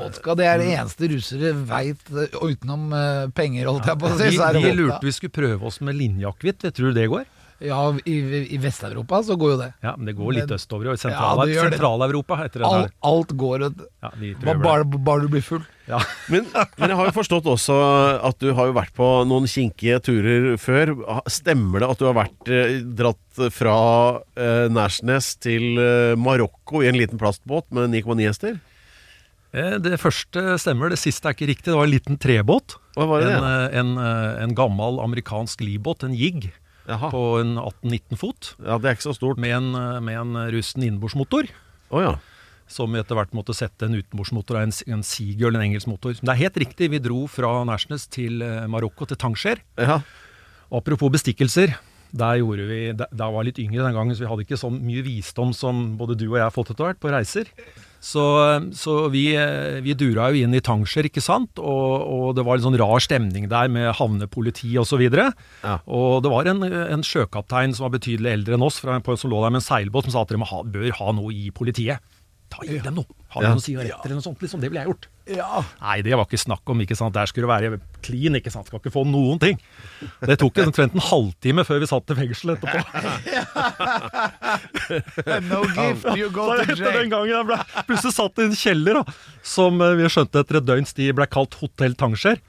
B: Vodka det
D: Mm.
B: er det eneste russere veit utenom eh, penger, holdt jeg på å si.
D: Vi,
B: så er det
D: vi
B: vodka.
D: lurte vi skulle prøve oss med linjeakevitt. Tror du det går?
B: Ja, i, i Vest-Europa så går jo det.
D: Ja, men det går litt
B: Men-
D: østover og i
B: Ja,
D: sentral,
B: det gjør det.
D: Sentral-Europa etter det
B: Al,
D: der.
B: alt går ut.
D: Ja, vi
B: Bare,
D: prøver det.
B: bare, bare du blir full.
D: Ja.
A: men, men jeg har jo forstått også at du har jo vært på noen kinkige turer før. Stemmer det at du har vært eh, dratt fra eh, Nærsnes til eh, Marokko i en liten plastbåt med 9,9 hester?
D: Eh, Det første stemmer, det siste er ikke riktig. Det var en liten trebåt.
A: Hva var det?
D: en, eh, en, eh, en gammel amerikansk livbåt, en jig,
A: Jaha.
D: på en 18-19 fot.
A: Ja, det er ikke så stort.
D: Med en, eh, med en russen innbordsmotor,
A: Å ja.
D: som etter hvert måtte sette en utenbordsmotor av en, en Seagull, en engelsk motor. Men det er helt riktig, vi dro fra Nærsnes til eh, Marokko, til Tanger.
A: ja.
D: Apropos bestikkelser. Der gjorde vi, da da var jeg litt yngre den gangen, så vi hadde ikke så mye visdom som både du og jeg har fått etter hvert på reiser. Så, så vi, eh, vi dura jo inn i Tanger, ikke sant? Og, og det var litt sånn rar stemning der med havnepoliti osv. Og, så
A: Ja.
D: og det var en, en sjøkaptein som var betydelig eldre enn oss, fra, på, som lå der med en seilbåt, som sa at dere må ha, bør ha noe i politiet. Ta i dem noe! Har dere
A: Ja.
D: noen sigaretter eller noe sånt? Liksom, det ville jeg gjort.
B: Ja.
D: Nei, det var ikke snakk om. ikke sant? Der skulle det være clean. ikke sant? Skal ikke få noen ting. Det tok omtrent en halvtime før vi satt i fengsel etterpå.
B: No gift, you go
D: Så
B: to
D: etter den
B: jail.
D: gangen jeg ble, Plutselig satt i en kjeller, da, som eh, vi skjønte etter et døgns tid ble kalt Hotell Tanger.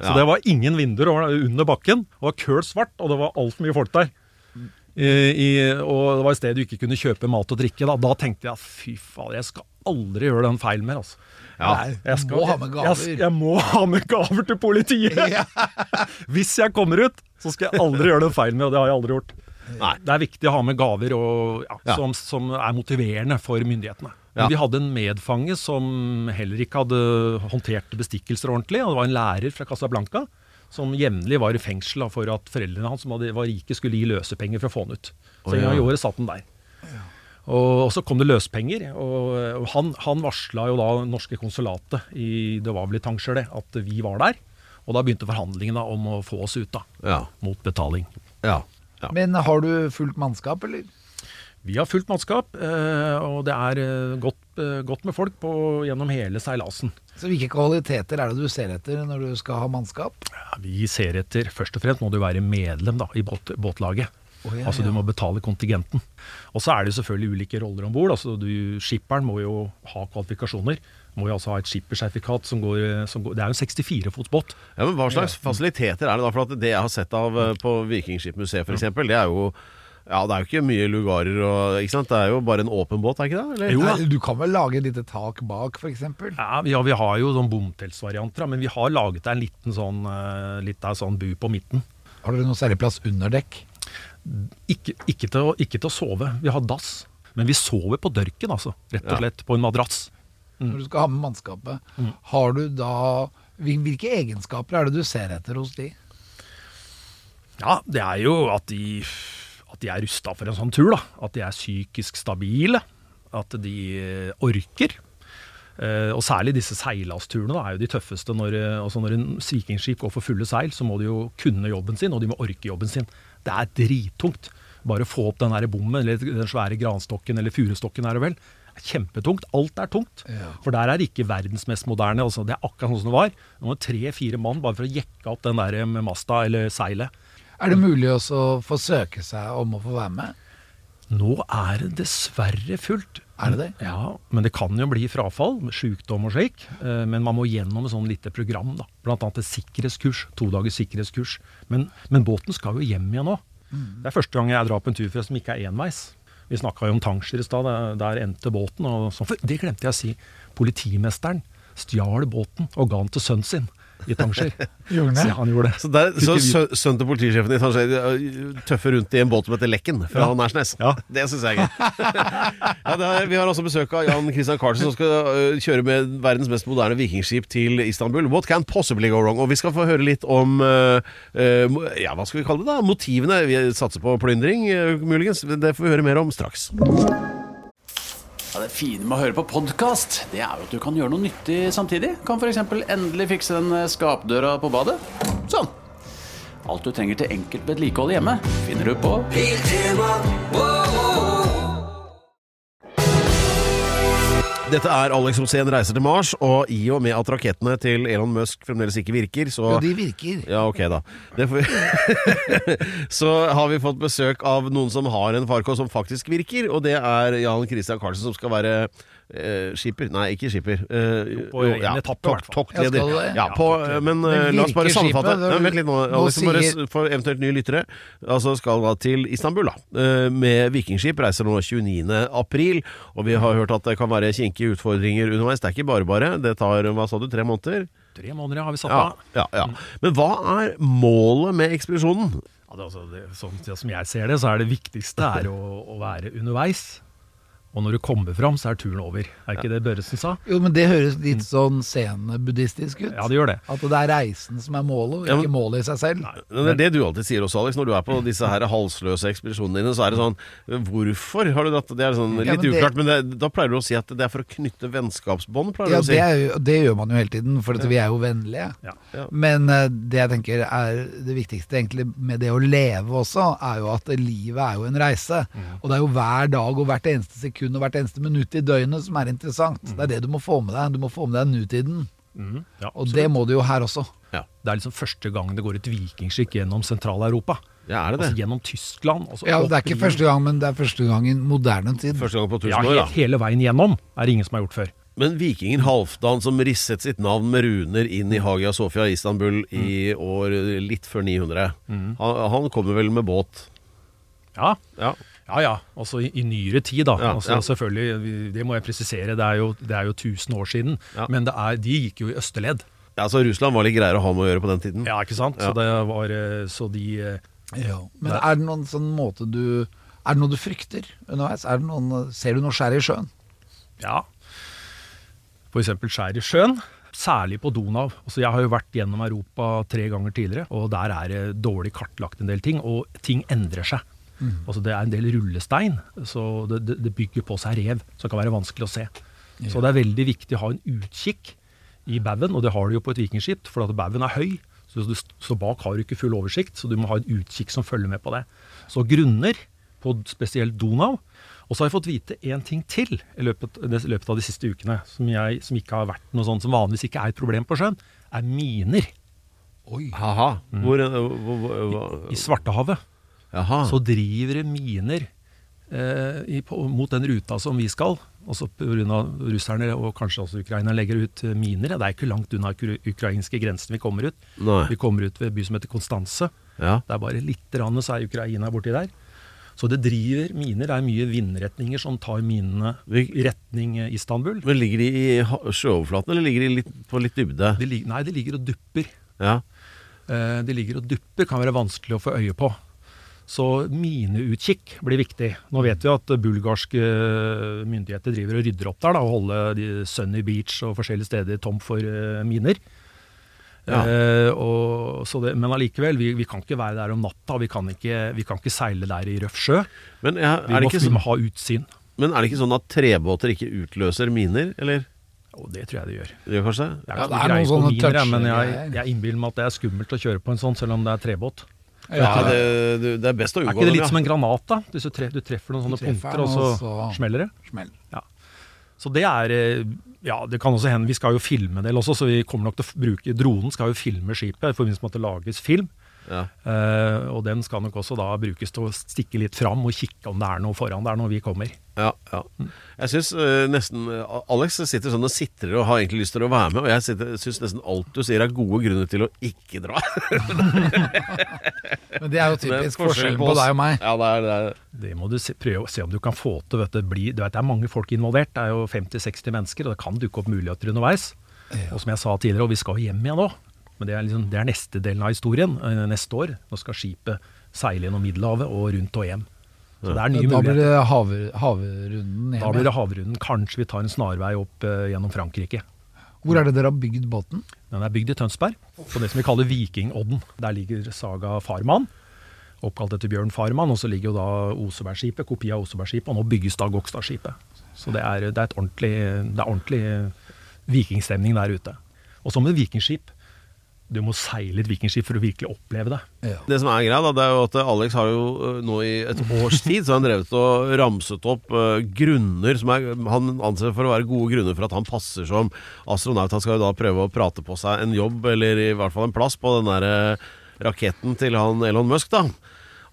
D: Så
A: Ja.
D: det var ingen vinduer og det var under bakken. Det var køl svart, og det var altfor mye folk der. I, i, og det var et sted du ikke kunne kjøpe mat og drikke. Da, da tenkte jeg fy fader, jeg skal aldri gjøre den feilen mer. altså.
B: Nei, du
D: Jeg skal-
B: må ha med gaver.
D: Jeg, jeg må ha med gaver til politiet! Hvis jeg kommer ut, så skal jeg aldri gjøre den feilen med, og det har jeg aldri gjort. Det er viktig å ha med gaver og, ja,
A: Ja.
D: Som, som er motiverende for myndighetene. Men
A: Ja.
D: Vi hadde en medfange som heller ikke hadde håndtert bestikkelser ordentlig. og Det var en lærer fra Casablanca som jevnlig var i fengsel da, for at foreldrene hans som hadde, var rike, skulle gi løsepenger for å få han ut. Så
A: Å,
D: en gang i
A: ja.
D: året satt han der. Og så kom det løspenger, og, og han, han varsla jo da norske konsulatet i det var vel i Tanger det, at vi var der. Og da begynte forhandlingene om å få oss ut, da.
A: Ja.
D: Mot betaling.
A: Ja. ja.
B: Men har du fullt mannskap, eller?
D: Vi har fullt mannskap, eh, og det er eh, godt, eh, godt med folk på, gjennom hele seilasen.
B: Så hvilke kvaliteter er det du ser etter når du skal ha mannskap?
D: Ja, Vi ser etter Først og fremst må du være medlem da, i båt, båtlaget.
B: Å, ja,
D: altså
B: ja.
D: du må betale kontingenten. Og så er det selvfølgelig ulike roller om bord. Altså, du- skipperen må jo ha kvalifikasjoner. Må jo altså ha et skippersertifikat som går, som går Det er jo en 64-fots båt.
A: Ja, men Hva slags fasiliteter er det da? For at det jeg har sett av eh, på Vikingskipmuseet f.eks., det er jo ja, det er jo ikke mye lugarer og ikke sant? Det er jo bare en åpen båt, er ikke det? Eller?
D: Jo da.
B: Nei, Du kan vel lage et lite tak bak, f.eks.?
D: Ja, vi, ja, vi har jo sånn bomteltsvarianter, da, men vi har laget en liten sånn, eh, litt av sånn bu på midten.
B: Har dere noe særlig plass under dekk?
D: Ikke, ikke, til, å- ikke til å sove. Vi har dass. Men vi sover på dørken, altså. Rett og slett. På en madrass. Mm.
B: Når du skal ha med mannskapet, har du da hvil- Hvilke egenskaper er det du ser etter hos de?
D: Ja, det er jo at de, at de er rusta for en sånn tur, da. At de er psykisk stabile. At de eh, orker. Eh, og særlig disse seilasturene da, er jo de tøffeste. Når, eh, altså når en vikingskip går for fulle seil, så må de jo kunne jobben sin, og de må orke jobben sin. Det er drittungt. Bare å få opp den der bommen, eller den svære granstokken, eller furustokken, er det vel. Det er Kjempetungt. Alt er tungt. For der er det ikke verdens mest moderne. Altså, det er akkurat sånn som det var. Nå var det tre-fire mann bare for å jekke opp den der eh, med masta eller seilet.
B: Er det mulig også å få søke seg om å få være med?
D: Nå er det dessverre fullt.
B: Er det det?
D: Ja, men det kan jo bli frafall, sykdom og slik. eh, Men man må gjennom et sånn lite program, da. Blant annet et sikkerhetskurs. To dagers
B: Mm.
D: sikkerhetskurs. Men, men båten skal jo hjem igjen nå. Det er første gang jeg drar på en tur for som ikke er enveis. Vi snakka jo om Tanger i stad. Der, der endte båten. Og så, for det glemte jeg å si. Politimesteren stjal båten og ga den til sønnen sin i Tanger.
B: Gjorde han det?
D: Så han gjorde det.
A: Så, der, så
D: Fikk vi-
A: sø- sønnen til politisjefen i Tanger eh, tøffer rundt i en båt som heter Lekken fra Nærsnes.
D: Ja.
A: Det syns jeg er gøy. ja, det er, vi har også besøk av Jan Christian Carlsen, som skal eh, kjøre med verdens mest moderne vikingskip til Istanbul. What can possibly go wrong? Og vi skal få høre litt om eh, eh, mo- ja, hva skal vi kalle det da? Motivene. Vi satser på plyndring, eh, muligens. Det får vi høre mer om straks.
E: Ja, det fine med å høre på podkast, det er jo at du kan gjøre noe nyttig samtidig. Kan f.eks. endelig fikse den eh, skapdøra på badet. Sånn. Alt du trenger til enkelt vedlikehold hjemme, finner du på
A: Dette er Alex Rosén reiser til Mars, og i og med at rakettene til Elon Musk fremdeles ikke virker, så
B: Jo, de virker.
A: Ja, ok da. Det får... så har vi fått besøk av noen som har en farkå som faktisk virker, og det er Jan Christian Karlsen som skal være eh, skipper. Nei, ikke skipper. Eh,
D: på egen etappe, i
A: tok-
D: hvert fall.
A: Toktleder.
B: Ja, skal det?
A: Ja, på, eh, men eh,
B: Men
A: la oss bare
B: virker skipet?
A: sammenfatte.
B: Det er-
A: Nei, Vent litt nå,
B: nå
A: Alex, bare
B: sier-
A: s- for eventuelt nye lyttere. Altså skal da til Istanbul, da. eh, Med vikingskip. Reiser nå 29. april. Og vi har hørt at det kan være kinkige utfordringer underveis. Det er ikke bare bare. Det tar, hva sa du, tre måneder?
D: Tre måneder ja, har vi satt
A: Ja,
D: av.
A: ja, ja.
B: Mm.
A: Men hva er målet med ekspedisjonen?
D: Ja, det, er altså, det, sånn, ja, som jeg ser det, så er det viktigste er å, å være underveis. Og når du kommer fram, så er turen over. Er ikke det Børresen sa?
B: Jo, men det høres litt sånn scenebuddhistisk ut.
D: Ja, det gjør det.
B: At det er reisen som er målet, og
A: Ja,
B: ikke
A: men-
B: målet i seg selv.
A: Det er det du alltid sier også, Alex. Når du er på disse her halsløse ekspedisjonene dine, så er det sånn Hvorfor har du dratt Det er sånn
B: Ja,
A: litt
B: men det-
A: uklart, men det, da pleier du å si at det er for å knytte vennskapsbånd, pleier du
B: Ja,
A: å si.
B: det, er jo, det gjør man jo hele tiden, for at vi er jo vennlige.
D: Ja.
B: Men eh, det jeg tenker er det viktigste egentlig med det å leve også, er jo at livet er jo en reise. Og det er jo hver dag og hvert eneste sekund og hvert eneste minutt i døgnet som er interessant. Det er det du må få med deg. Du må få med deg nutiden.
D: Ja,
B: Og
D: så
B: det må du jo her også.
D: det er liksom første gang det går et vikingskip gjennom Sentral-Europa.
A: Ja, er det det?
D: Altså gjennom Tyskland. og så
B: Ja,
D: opp
B: det er ikke
D: i-
B: første gang, men det er første gang i moderne tid.
A: Første gang på
D: Ja,
A: 1000 år,
D: he
A: da.
D: hele veien gjennom er det ingen som har gjort før.
A: Men vikingen Halvdan som risset sitt navn med runer inn i Hagia Sofia i Istanbul i
B: Mm.
A: år litt før 900. Han, han kommer vel med båt.
D: Ja,
A: Ja.
D: ja. ja. Altså i, i nyere tid, da.
A: Ja,
D: altså,
A: ja.
D: Selvfølgelig, vi- det må jeg presisere, det er jo, det er jo 1000 år siden.
A: Ja.
D: Men det er, de gikk jo i østerledd.
A: ja, så Russland var litt greiere å ha med å gjøre på den tiden.
D: Ja, ikke sant?
A: Mm. Ja.
D: Så, det var, eh, så de eh,
B: Ja. Men er det noen sånn måte du Er det noe du frykter underveis? Er det noen, ser du noe skjær i sjøen?
D: Ja. F.eks. skjær i sjøen. Særlig på Donau. Altså, jeg har jo vært gjennom Europa tre ganger tidligere, og der er det dårlig kartlagt en del ting, og ting endrer seg. Altså, det er en del rullestein, så det, det, det bygger på seg rev, som kan være vanskelig å se. Så det er veldig viktig å ha en utkikk i baugen, og det har du jo på et vikingskip, for at baugen er høy. Så, du, så bak har du ikke full oversikt, så du må ha en utkikk som følger med på det. Så grunner på spesielt Donau. Og så har jeg fått vite én ting til i løpet, i løpet av de siste ukene, som, jeg, som ikke har vært noe sånt som vanligvis ikke er et problem på sjøen, er miner
A: Haha.
B: Mm.
A: Hvor, eh, hvor, hvor, hvor
D: i Svartehavet.
A: Jaha.
D: Så driver det miner eh, i, på, mot den ruta som vi skal. Altså pga. russerne og kanskje også ukrainerne legger ut eh, miner. Det er ikke langt unna ukra- ukrainske grensen vi kommer ut.
A: Nei.
D: Vi kommer ut ved en by som heter Konstanse.
A: Ja.
D: Det er bare litt rann, så er Ukraina borti der. Så det driver miner. Det er mye vindretninger som tar minene
A: Vi-
D: i retning eh, Istanbul.
A: Men ligger de i ha- sjøoverflaten, eller ligger de litt, på litt dybde?
D: De, lig- nei, de ligger og dupper.
A: Ja.
D: Eh, De ligger og dupper, kan være vanskelig å få øye på. Så mineutkikk blir viktig. Nå vet vi at bulgarske myndigheter driver og rydder opp der, da, og holder de Sunny Beach og forskjellige steder tom for eh, miner.
A: Ja.
D: Eh, og, så det, men allikevel, vi, vi kan ikke være der om natta. Vi kan ikke, vi kan ikke seile der i røff sjø.
A: Men, ja,
D: Vi,
A: er det
D: må,
A: ikke, sånn-
D: vi
A: så-
D: må ha utsyn.
A: men er det ikke sånn at trebåter ikke utløser miner, eller?
D: Og det tror jeg det gjør.
A: Det gjør kanskje det?
D: Det er,
B: Ja,
D: ja,
B: det er noen
D: på
B: sånne
D: miner, jeg, men jeg,
B: touch-greier.
D: jeg innbiller meg at det er skummelt å kjøre på en sånn, selv om det er trebåt.
A: Ja, det, du- det er best å
D: Er
A: unngå
D: ikke det
A: dem,
D: litt som
A: ja.
D: en granat, da? Hvis du, tre, du treffer noen sånne
B: Treffer den,
D: punkter, og så,
B: og så-
D: smeller det.
B: Smell.
D: Ja. Så det er eh, Ja, det kan også hende Vi skal jo filme en del også, så vi kommer nok til å f- bruke Dronen skal jo filme skipet i forbindelse med at det lages film.
A: Ja.
D: Eh, og den skal nok også da brukes til å stikke litt fram og kikke om det er noe foran der når vi kommer.
A: Ja, ja. Jeg syns nesten eh, Alex sitter sånn og sitrer og har egentlig lyst til å være med, og jeg syns nesten alt du sier er gode grunner til å ikke dra.
B: Men Men det er jo
A: Det er
B: typisk forskjellen på deg og meg.
A: Ja, det er, det er.
D: Det må du se, prøve å se om du kan få til. Vet du, bli, du vet, det er mange folk involvert. Det er jo 50-60 mennesker, og det kan dukke opp muligheter underveis. Og som jeg sa tidligere, og vi skal jo hjem igjen nå. Men det er, liksom, det er neste delen av historien. eh, Neste år. Nå skal skipet seile gjennom Middelhavet og rundt og hjem. Så det er nye
B: Da blir
D: muligheter.
B: det hav- havrunden
D: Da blir
B: hjemme.
D: det havrunden. Kanskje vi tar en snarvei opp eh, gjennom Frankrike.
B: Hvor er det dere har bygd båten?
D: Den er bygd i Tønsberg, på det som vi kaller Vikingodden. Der ligger Saga Farman, oppkalt etter Bjørn Farman. Og så ligger jo da Osebergskipet, kopi av Osebergskipet, og nå bygges da Gokstadskipet. Så det er, det er et ordentlig, det er ordentlig eh, vikingstemning der ute. Og som et vikingskip. Du må seile et vikingskip for å virkelig oppleve det.
A: Det som er greia, da, det er jo at Alex har jo øh, nå i et års tid så har han drevet og ramset opp øh, grunner som er, han anser for å være gode grunner for at han passer som astronaut. Han skal jo da prøve å prate på seg en jobb, eller i hvert fall en plass, på den derre raketten til han Elon Musk, da.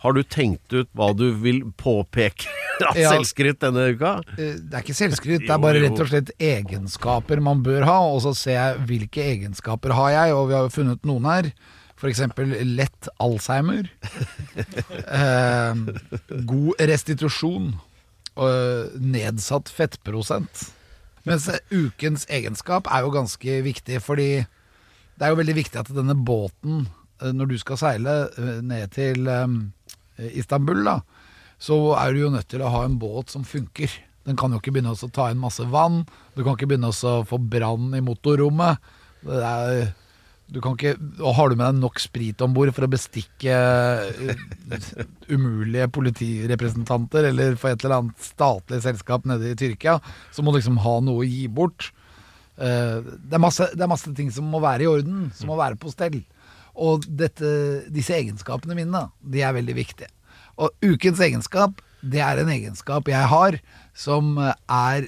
A: Har du tenkt ut hva du vil påpeke av
B: Ja.
A: selvskritt denne uka?
B: Eh, Det er ikke selvskryt, det
A: Jo,
B: er bare
A: jo.
B: rett og slett egenskaper man bør ha. Og så ser jeg hvilke egenskaper har jeg, og vi har jo funnet noen her. F.eks. lett alzheimer. eh, god restitusjon. Og nedsatt fettprosent. Mens ukens egenskap er jo ganske viktig, fordi det er jo veldig viktig at denne båten, eh, når du skal seile eh, ned til eh, Istanbul, da, så er du jo nødt til å ha en båt som funker. Den kan jo ikke begynne å ta inn masse vann, du kan ikke begynne å få brann i motorrommet. Det er, du kan ikke, og har du med deg nok sprit om bord for å bestikke eh, umulige politirepresentanter eller for et eller annet statlig selskap nede i Tyrkia, så må du liksom ha noe å gi bort. Eh, det, er masse, det er masse ting som må være i orden, som må være på stell. Og dette, disse egenskapene mine, de er veldig viktige. Og ukens egenskap, det er en egenskap jeg har som er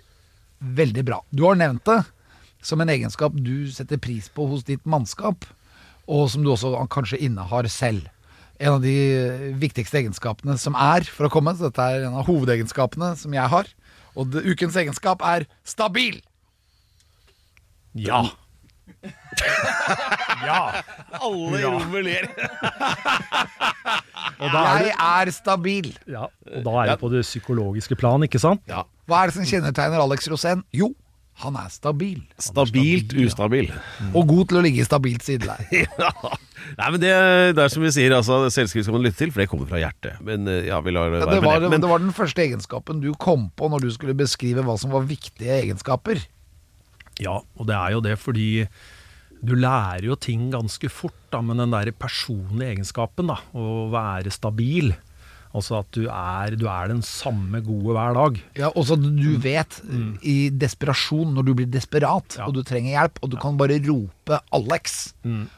B: veldig bra. Du har nevnt det som en egenskap du setter pris på hos ditt mannskap, og som du også kanskje innehar selv. En av de viktigste egenskapene som er for å komme, så dette er en av hovedegenskapene som jeg har. Og det, ukens egenskap er stabil!
D: Ja! ja!
A: Alle i rommet ler.
D: Og da er,
B: Jeg er stabil.
D: det- ja, og da er det på det psykologiske plan, ikke sant?
B: Hva er det som kjennetegner Alex Rosén? Jo, han er stabil. Mm.
A: Stabilt ustabil.
B: Og god til å ligge i stabilt sideleie.
A: Ja. Nei, men det, det er som vi sier, altså, selvskritt skal man lytte til, for det kommer fra hjertet. Men eh, ja, vi lar det
B: Ja,
A: være
B: det, var,
A: med det.
B: det
A: Men
B: var den første egenskapen du kom på når du skulle beskrive hva som var viktige egenskaper.
D: Ja, og det er jo det fordi du lærer jo ting ganske fort, da, men den der personlige egenskapen, da, å være stabil Altså at du er, du er den samme gode hver dag.
B: Ja, Også at
D: Mm.
B: du vet, i desperasjon, når du blir desperat
D: Ja. Mm.
B: og du trenger hjelp, og du kan bare rope 'Alex',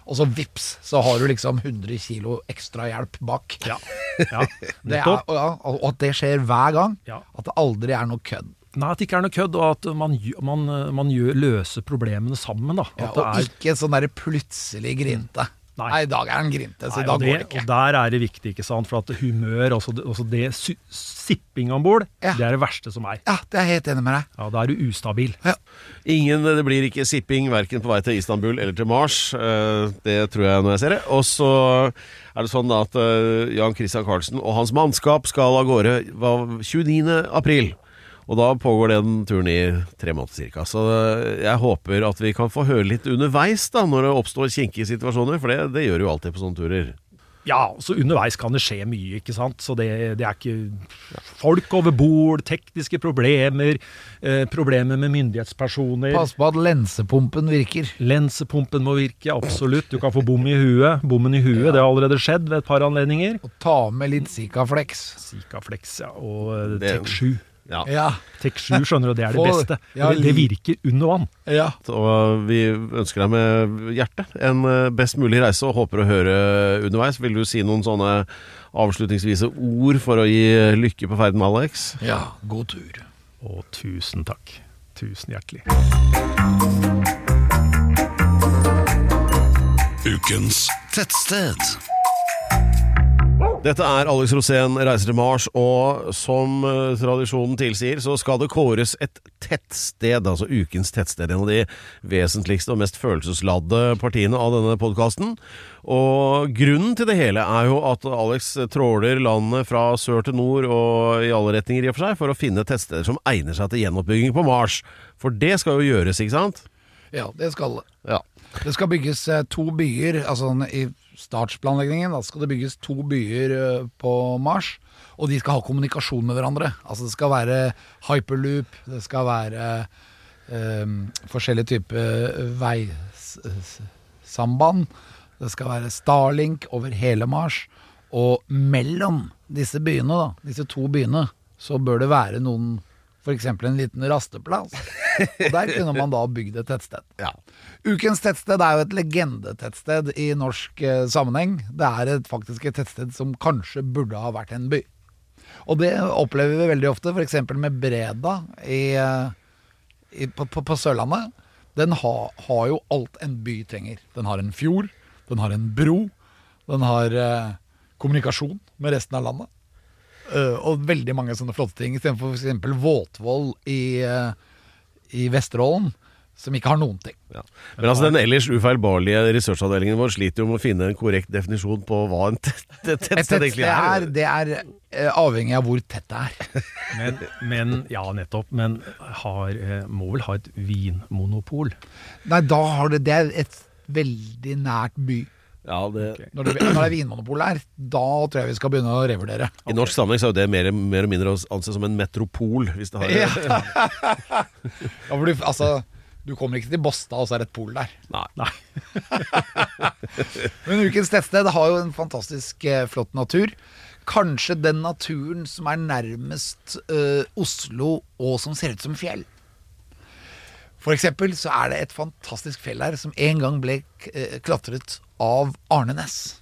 B: og så vips, så har du liksom 100 kilo ekstra hjelp bak.
D: Ja, ja
B: Det er,
D: nettopp.
B: og, ja, og at det skjer hver gang.
D: Ja.
B: At det aldri er noe kødd.
D: Nei, at det ikke er noe kødd, og at man, gjø- man, man gjør, løser problemene sammen. da.
B: Ja,
D: At
B: og
D: det er- Mm.
B: ikke sånn der plutselig grinte. Nei.
D: Nei.
B: i dag er han grinte, så
D: Nei,
B: i dag
D: og
B: altså, går det ikke.
D: Og der er det viktig, ikke sant? for at humør, altså det, altså det sy- sipping om bord,
B: Ja.
D: det er det verste som er.
B: Ja, det er jeg helt enig med deg.
D: Ja, Da er du ustabil.
A: ingen, det blir ikke sipping verken på vei til Istanbul eller til Mars. Eh, Det tror jeg når jeg ser det. Og så er det sånn da at eh, Jan Christian Carlsen og hans mannskap skal av gårde hva- 29. april. Og da pågår den turen i tre måneder ca. Så eh, jeg håper at vi kan få høre litt underveis da når det oppstår kinkige situasjoner, for det, det gjør jo alltid på sånne turer.
D: Ja, så underveis kan det skje mye, ikke sant. Så det, det er ikke Folk over bord, tekniske problemer, eh, problemer med myndighetspersoner.
B: Pass på at lensepumpen virker.
D: Lensepumpen må virke, absolutt. Du kan få bom i huet. Bommen i huet, det har allerede skjedd ved et par anledninger.
B: Og ta med litt Sikaflex.
D: Sikaflex ja, og eh,
A: Det-
D: Tek 7.
A: Ja.
B: Ja.
D: Tek 7 skjønner du, det er det
B: Få-
D: beste.
B: ja,
D: Det, det virker under vann.
B: ja.
A: Og vi ønsker deg med hjertet en eh, best mulig reise og håper å høre underveis. Vil du si noen sånne avslutningsvise ord for å gi lykke på ferden, Alex?
B: Ja, god tur.
D: Og tusen takk. Tusen hjertelig.
F: Ukens tettsted.
A: Dette er Alex Rosén, Reiser til Mars, og som eh, tradisjonen tilsier, så skal det kåres et tettsted, altså ukens tettsted. En av de vesentligste og mest følelsesladde partiene av denne podkasten. Og grunnen til det hele er jo at Alex tråler landet fra sør til nord og i alle retninger i og for seg, for å finne tettsteder som egner seg til gjenoppbygging på Mars. For det skal jo gjøres, ikke sant?
B: Ja, det skal det.
A: Ja.
B: Det skal bygges eh, to byer, altså sånn i startplanleggingen da skal det bygges to byer eh, på Mars, og de skal ha kommunikasjon med hverandre. Altså det skal være hyperloop, det skal være eh, forskjellige typer eh, veisamband, det skal være Starlink over hele Mars, og mellom disse byene da, disse to byene, så bør det være noen, for eksempel en liten rasteplass. Og der kunne man da bygd et tettsted. Ukens tettsted er jo et legendetettsted i norsk eh, sammenheng. Det er et faktisk et tettsted som kanskje burde ha vært en by. Og det opplever vi veldig ofte, f.eks. med Breda i, eh, i, på, på, på Sørlandet. Den har, har jo alt en by trenger. Den har en fjord, den har en bro, den har eh, kommunikasjon med resten av landet. Eh, og veldig mange sånne flotte ting, istedenfor f.eks. Våtvoll i, eh, i Vesterålen, som ikke har noen ting.
A: Ja. Men altså den ellers ufeilbarlige researchavdelingen vår sliter jo med å finne en korrekt definisjon på hva en tett- tett-
B: Et
A: tettsted
B: tettsted
A: egentlig
B: er,
A: er.
B: det er eh, avhengig av hvor tett det er.
D: Men, men ja, nettopp. Men har, eh, må vel ha et vinmonopol.
B: Nei, da har det, det er et veldig nært by.
A: Ja, det,
B: Når det, når det er vinmonopol her, da tror jeg vi skal begynne å revurdere.
A: I norsk sammenheng så er jo det mer, mer og mindre å anse som en metropol, hvis det har
B: Ja. Ja, for du, altså, du kommer ikke til Båstad, og så er det et pol der.
A: Nei.
B: Men ukens tettsted har jo en fantastisk eh, flott natur. Kanskje den naturen som er nærmest eh, Oslo, og som ser ut som fjell. For eksempel så er det et fantastisk fjell her som en gang ble k- eh, klatret av Arne Næss.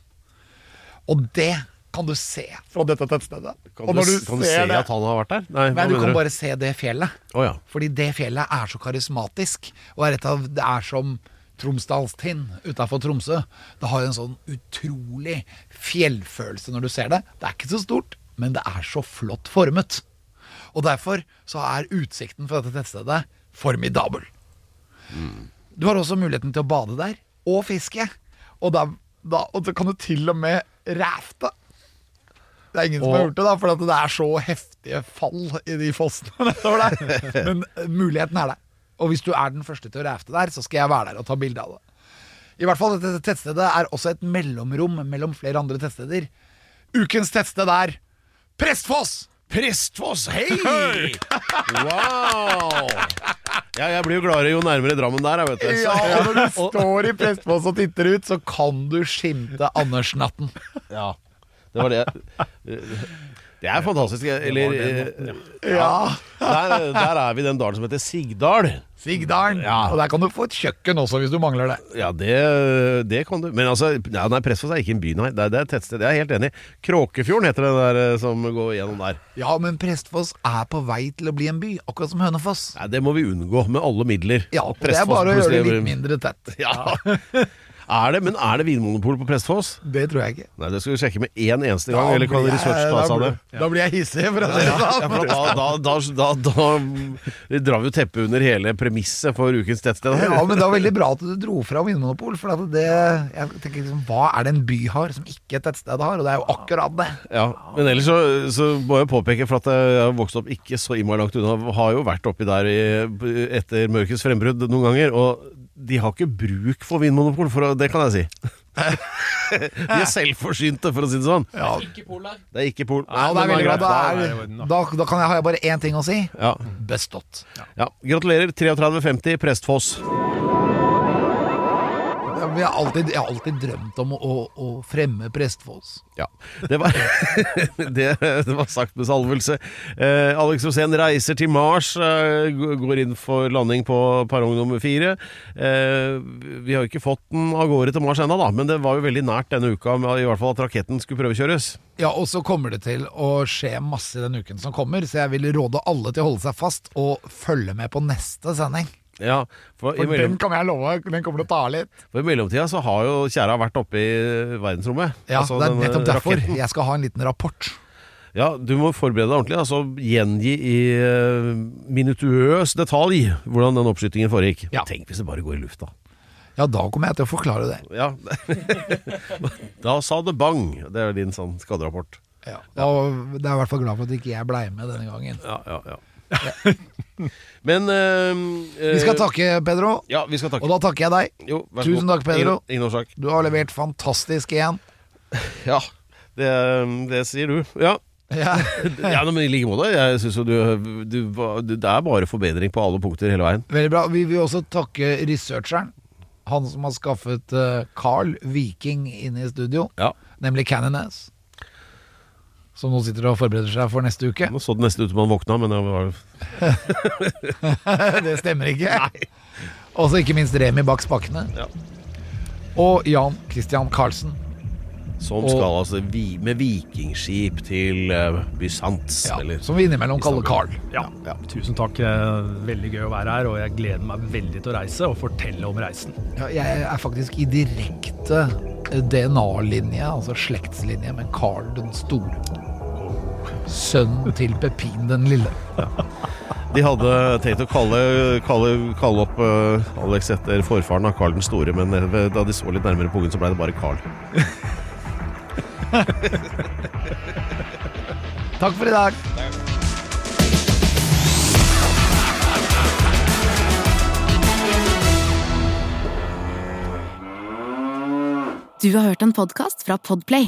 B: Og det kan du se fra dette tettstedet.
A: Kan,
B: og
A: du,
B: når du,
A: kan du se
B: ser det
A: at han har vært der? Nei, hva
B: Nei, du
A: mener
B: kan
A: du?
B: bare se det fjellet.
A: Å ja.
B: Fordi det fjellet er så karismatisk, og er et av, det er som Tromsdalstind utafor Tromsø. Det har en sånn utrolig fjellfølelse når du ser det. Det er ikke så stort, men det er så flott formet. Og derfor så er utsikten fra dette tettstedet formidabel. Du har også muligheten til å bade der, og fiske. Og da, da, og da kan du til og med rafte. Det er ingen som har gjort det, da, for at det er så heftige fall i de fossene nedover der. Men eh, muligheten er der. Og hvis du er den første til å rafte der, så skal jeg være der og ta bilde av det. I hvert fall dette tettstedet er også et mellomrom mellom flere andre tettsteder. Ukens tettsted er Prestfoss!
A: Prestfoss, hei! Wow! Ja, jeg blir jo gladere jo nærmere Drammen der, jeg, vet du.
B: Ja, og når du står i Prestfoss og titter ut, så kan du skimte Andersnatten.
A: Ja. Det var det Det er fantastisk. Eller
B: Ja.
A: der, der er vi i den dalen som heter Sigdal.
B: Sigdalen.
A: Ja.
B: Og der kan du få et kjøkken også, hvis du mangler det.
A: Ja, det, det kan du Men altså, ja, nei, Prestfoss er ikke en by, nei. Det er, det er et tettsted. Jeg er helt enig. Kråkefjorden heter det der eh, som går gjennom der.
B: Ja, men Prestfoss er på vei til å bli en by, akkurat som Hønefoss.
A: Nei, Det må vi unngå med alle midler.
B: Ja,
A: At
B: og det er bare å
A: Prestfoss
B: gjøre det
A: plutselig
B: litt mindre tett.
A: blir- Ja. Er det, men er det vinmonopol på Prestfoss?
B: Det tror jeg ikke.
A: Nei, det skal vi sjekke med én eneste gang. eller kan research ta seg av det?
B: Da blir jeg hissig, for å si det
A: Ja,
B: sånn.
A: for da, da, da, da, da drar vi jo teppet under hele premisset for ukens tettsted. her.
B: Ja, men det var veldig bra at du dro fra Vinmonopol, for at det, jeg tenker liksom, hva er det en by har som ikke et tettsted har? Og det er jo akkurat det.
A: Ja, Men ellers så, så må jeg påpeke, for at jeg har vokst opp ikke så innmari langt unna, har jo vært oppi der i, etter mørkets frembrudd noen ganger, og de har ikke bruk for vinmonopol, for å- det kan jeg si. de er selvforsynte, for å si det sånn.
E: Ikke polar.
A: Det er ikke pol...
B: Ja, det er
A: men
B: veldig bra.
A: greit.
B: Da,
D: Da er det i
B: er,
D: orden, da.
B: da, da kan jeg, har jeg bare én ting å si.
A: Ja.
B: Bestått.
A: ja. Gratulerer. 3350 Prestfoss.
B: Ja, men Jeg har alltid, jeg har alltid drømt om å, å, å fremme Prestfoss.
A: Ja, det var, det, det var sagt med salvelse. Eh, Alex Rosén reiser til Mars, eh, g- går inn for landing på perrong nummer fire. Eh, vi har jo ikke fått den av gårde til Mars ennå, da, men det var jo veldig nært denne uka, med- i hvert fall at raketten skulle prøvekjøres.
B: Ja, og så kommer det til å skje masse i den uken som kommer, så jeg vil råde alle til å holde seg fast og følge med på neste sending.
A: Ja, for, i
B: For den
A: mellom,
B: kan jeg love, den kommer til å ta av litt.
A: for i mellomtida så har jo tjæra vært oppe i eh, verdensrommet.
B: Ja,
A: Altså,
B: Det er
A: den, eh,
B: nettopp derfor
A: raketten.
B: jeg skal ha en liten rapport.
A: Ja, Du må forberede deg ordentlig. Altså Gjengi i eh, minutuøs detalj hvordan den oppskytingen foregikk.
B: Ja.
A: Tenk hvis det bare går i lufta.
B: Ja, da kommer jeg til å forklare det.
A: Ja. da sa det bang. Det er din sånn skaderapport.
B: Ja. Og det er jeg i hvert fall glad for at ikke jeg blei med denne gangen.
A: Ja, ja, ja. Men eh, eh,
B: Vi skal takke, Pedro.
A: Ja, vi skal takke.
B: Og da takker jeg deg.
A: Jo, vær så
B: Tusen
A: god.
B: takk, Pedro.
A: Ingen, ingen årsak.
B: Du har levert fantastisk igjen.
A: Ja, det, ehm, det sier du. Ja.
B: Ja.
A: ja, men I like måte. Jeg synes jo du, du, var- du Det er bare forbedring på alle punkter hele veien.
B: Veldig bra. Vi vil også takke researcheren. Han som har skaffet eh, Carl Viking inn i studio,
A: Ja.
B: nemlig Cannon Ass. Som nå sitter og forbereder seg for neste uke.
A: Nå så det nesten ut som han våkna, men det var
B: Det stemmer ikke. Og så ikke minst Remi bak spakene.
A: Ja.
B: Og Jan Christian Karlsen.
A: Som
B: Og-
A: skal altså vi, med vikingskip til eh, Bysants,
B: Ja,
A: eller
B: som vi innimellom kaller Carl.
D: Ja, tusen takk. Eh, Veldig gøy å være her, og jeg gleder meg veldig til å reise og fortelle om reisen.
B: Ja, jeg er faktisk i direkte DNA-linje, altså slektslinje, med Carl den store. Sønnen til Pepin den lille.
A: De hadde tenkt å kalle, kalle, kalle opp eh, Alex etter forfaren av Karl den store, men eh, da de så litt nærmere på ungen, så ble det bare Karl.
B: Takk for i dag.
G: Du har hørt en podcast fra Podplay.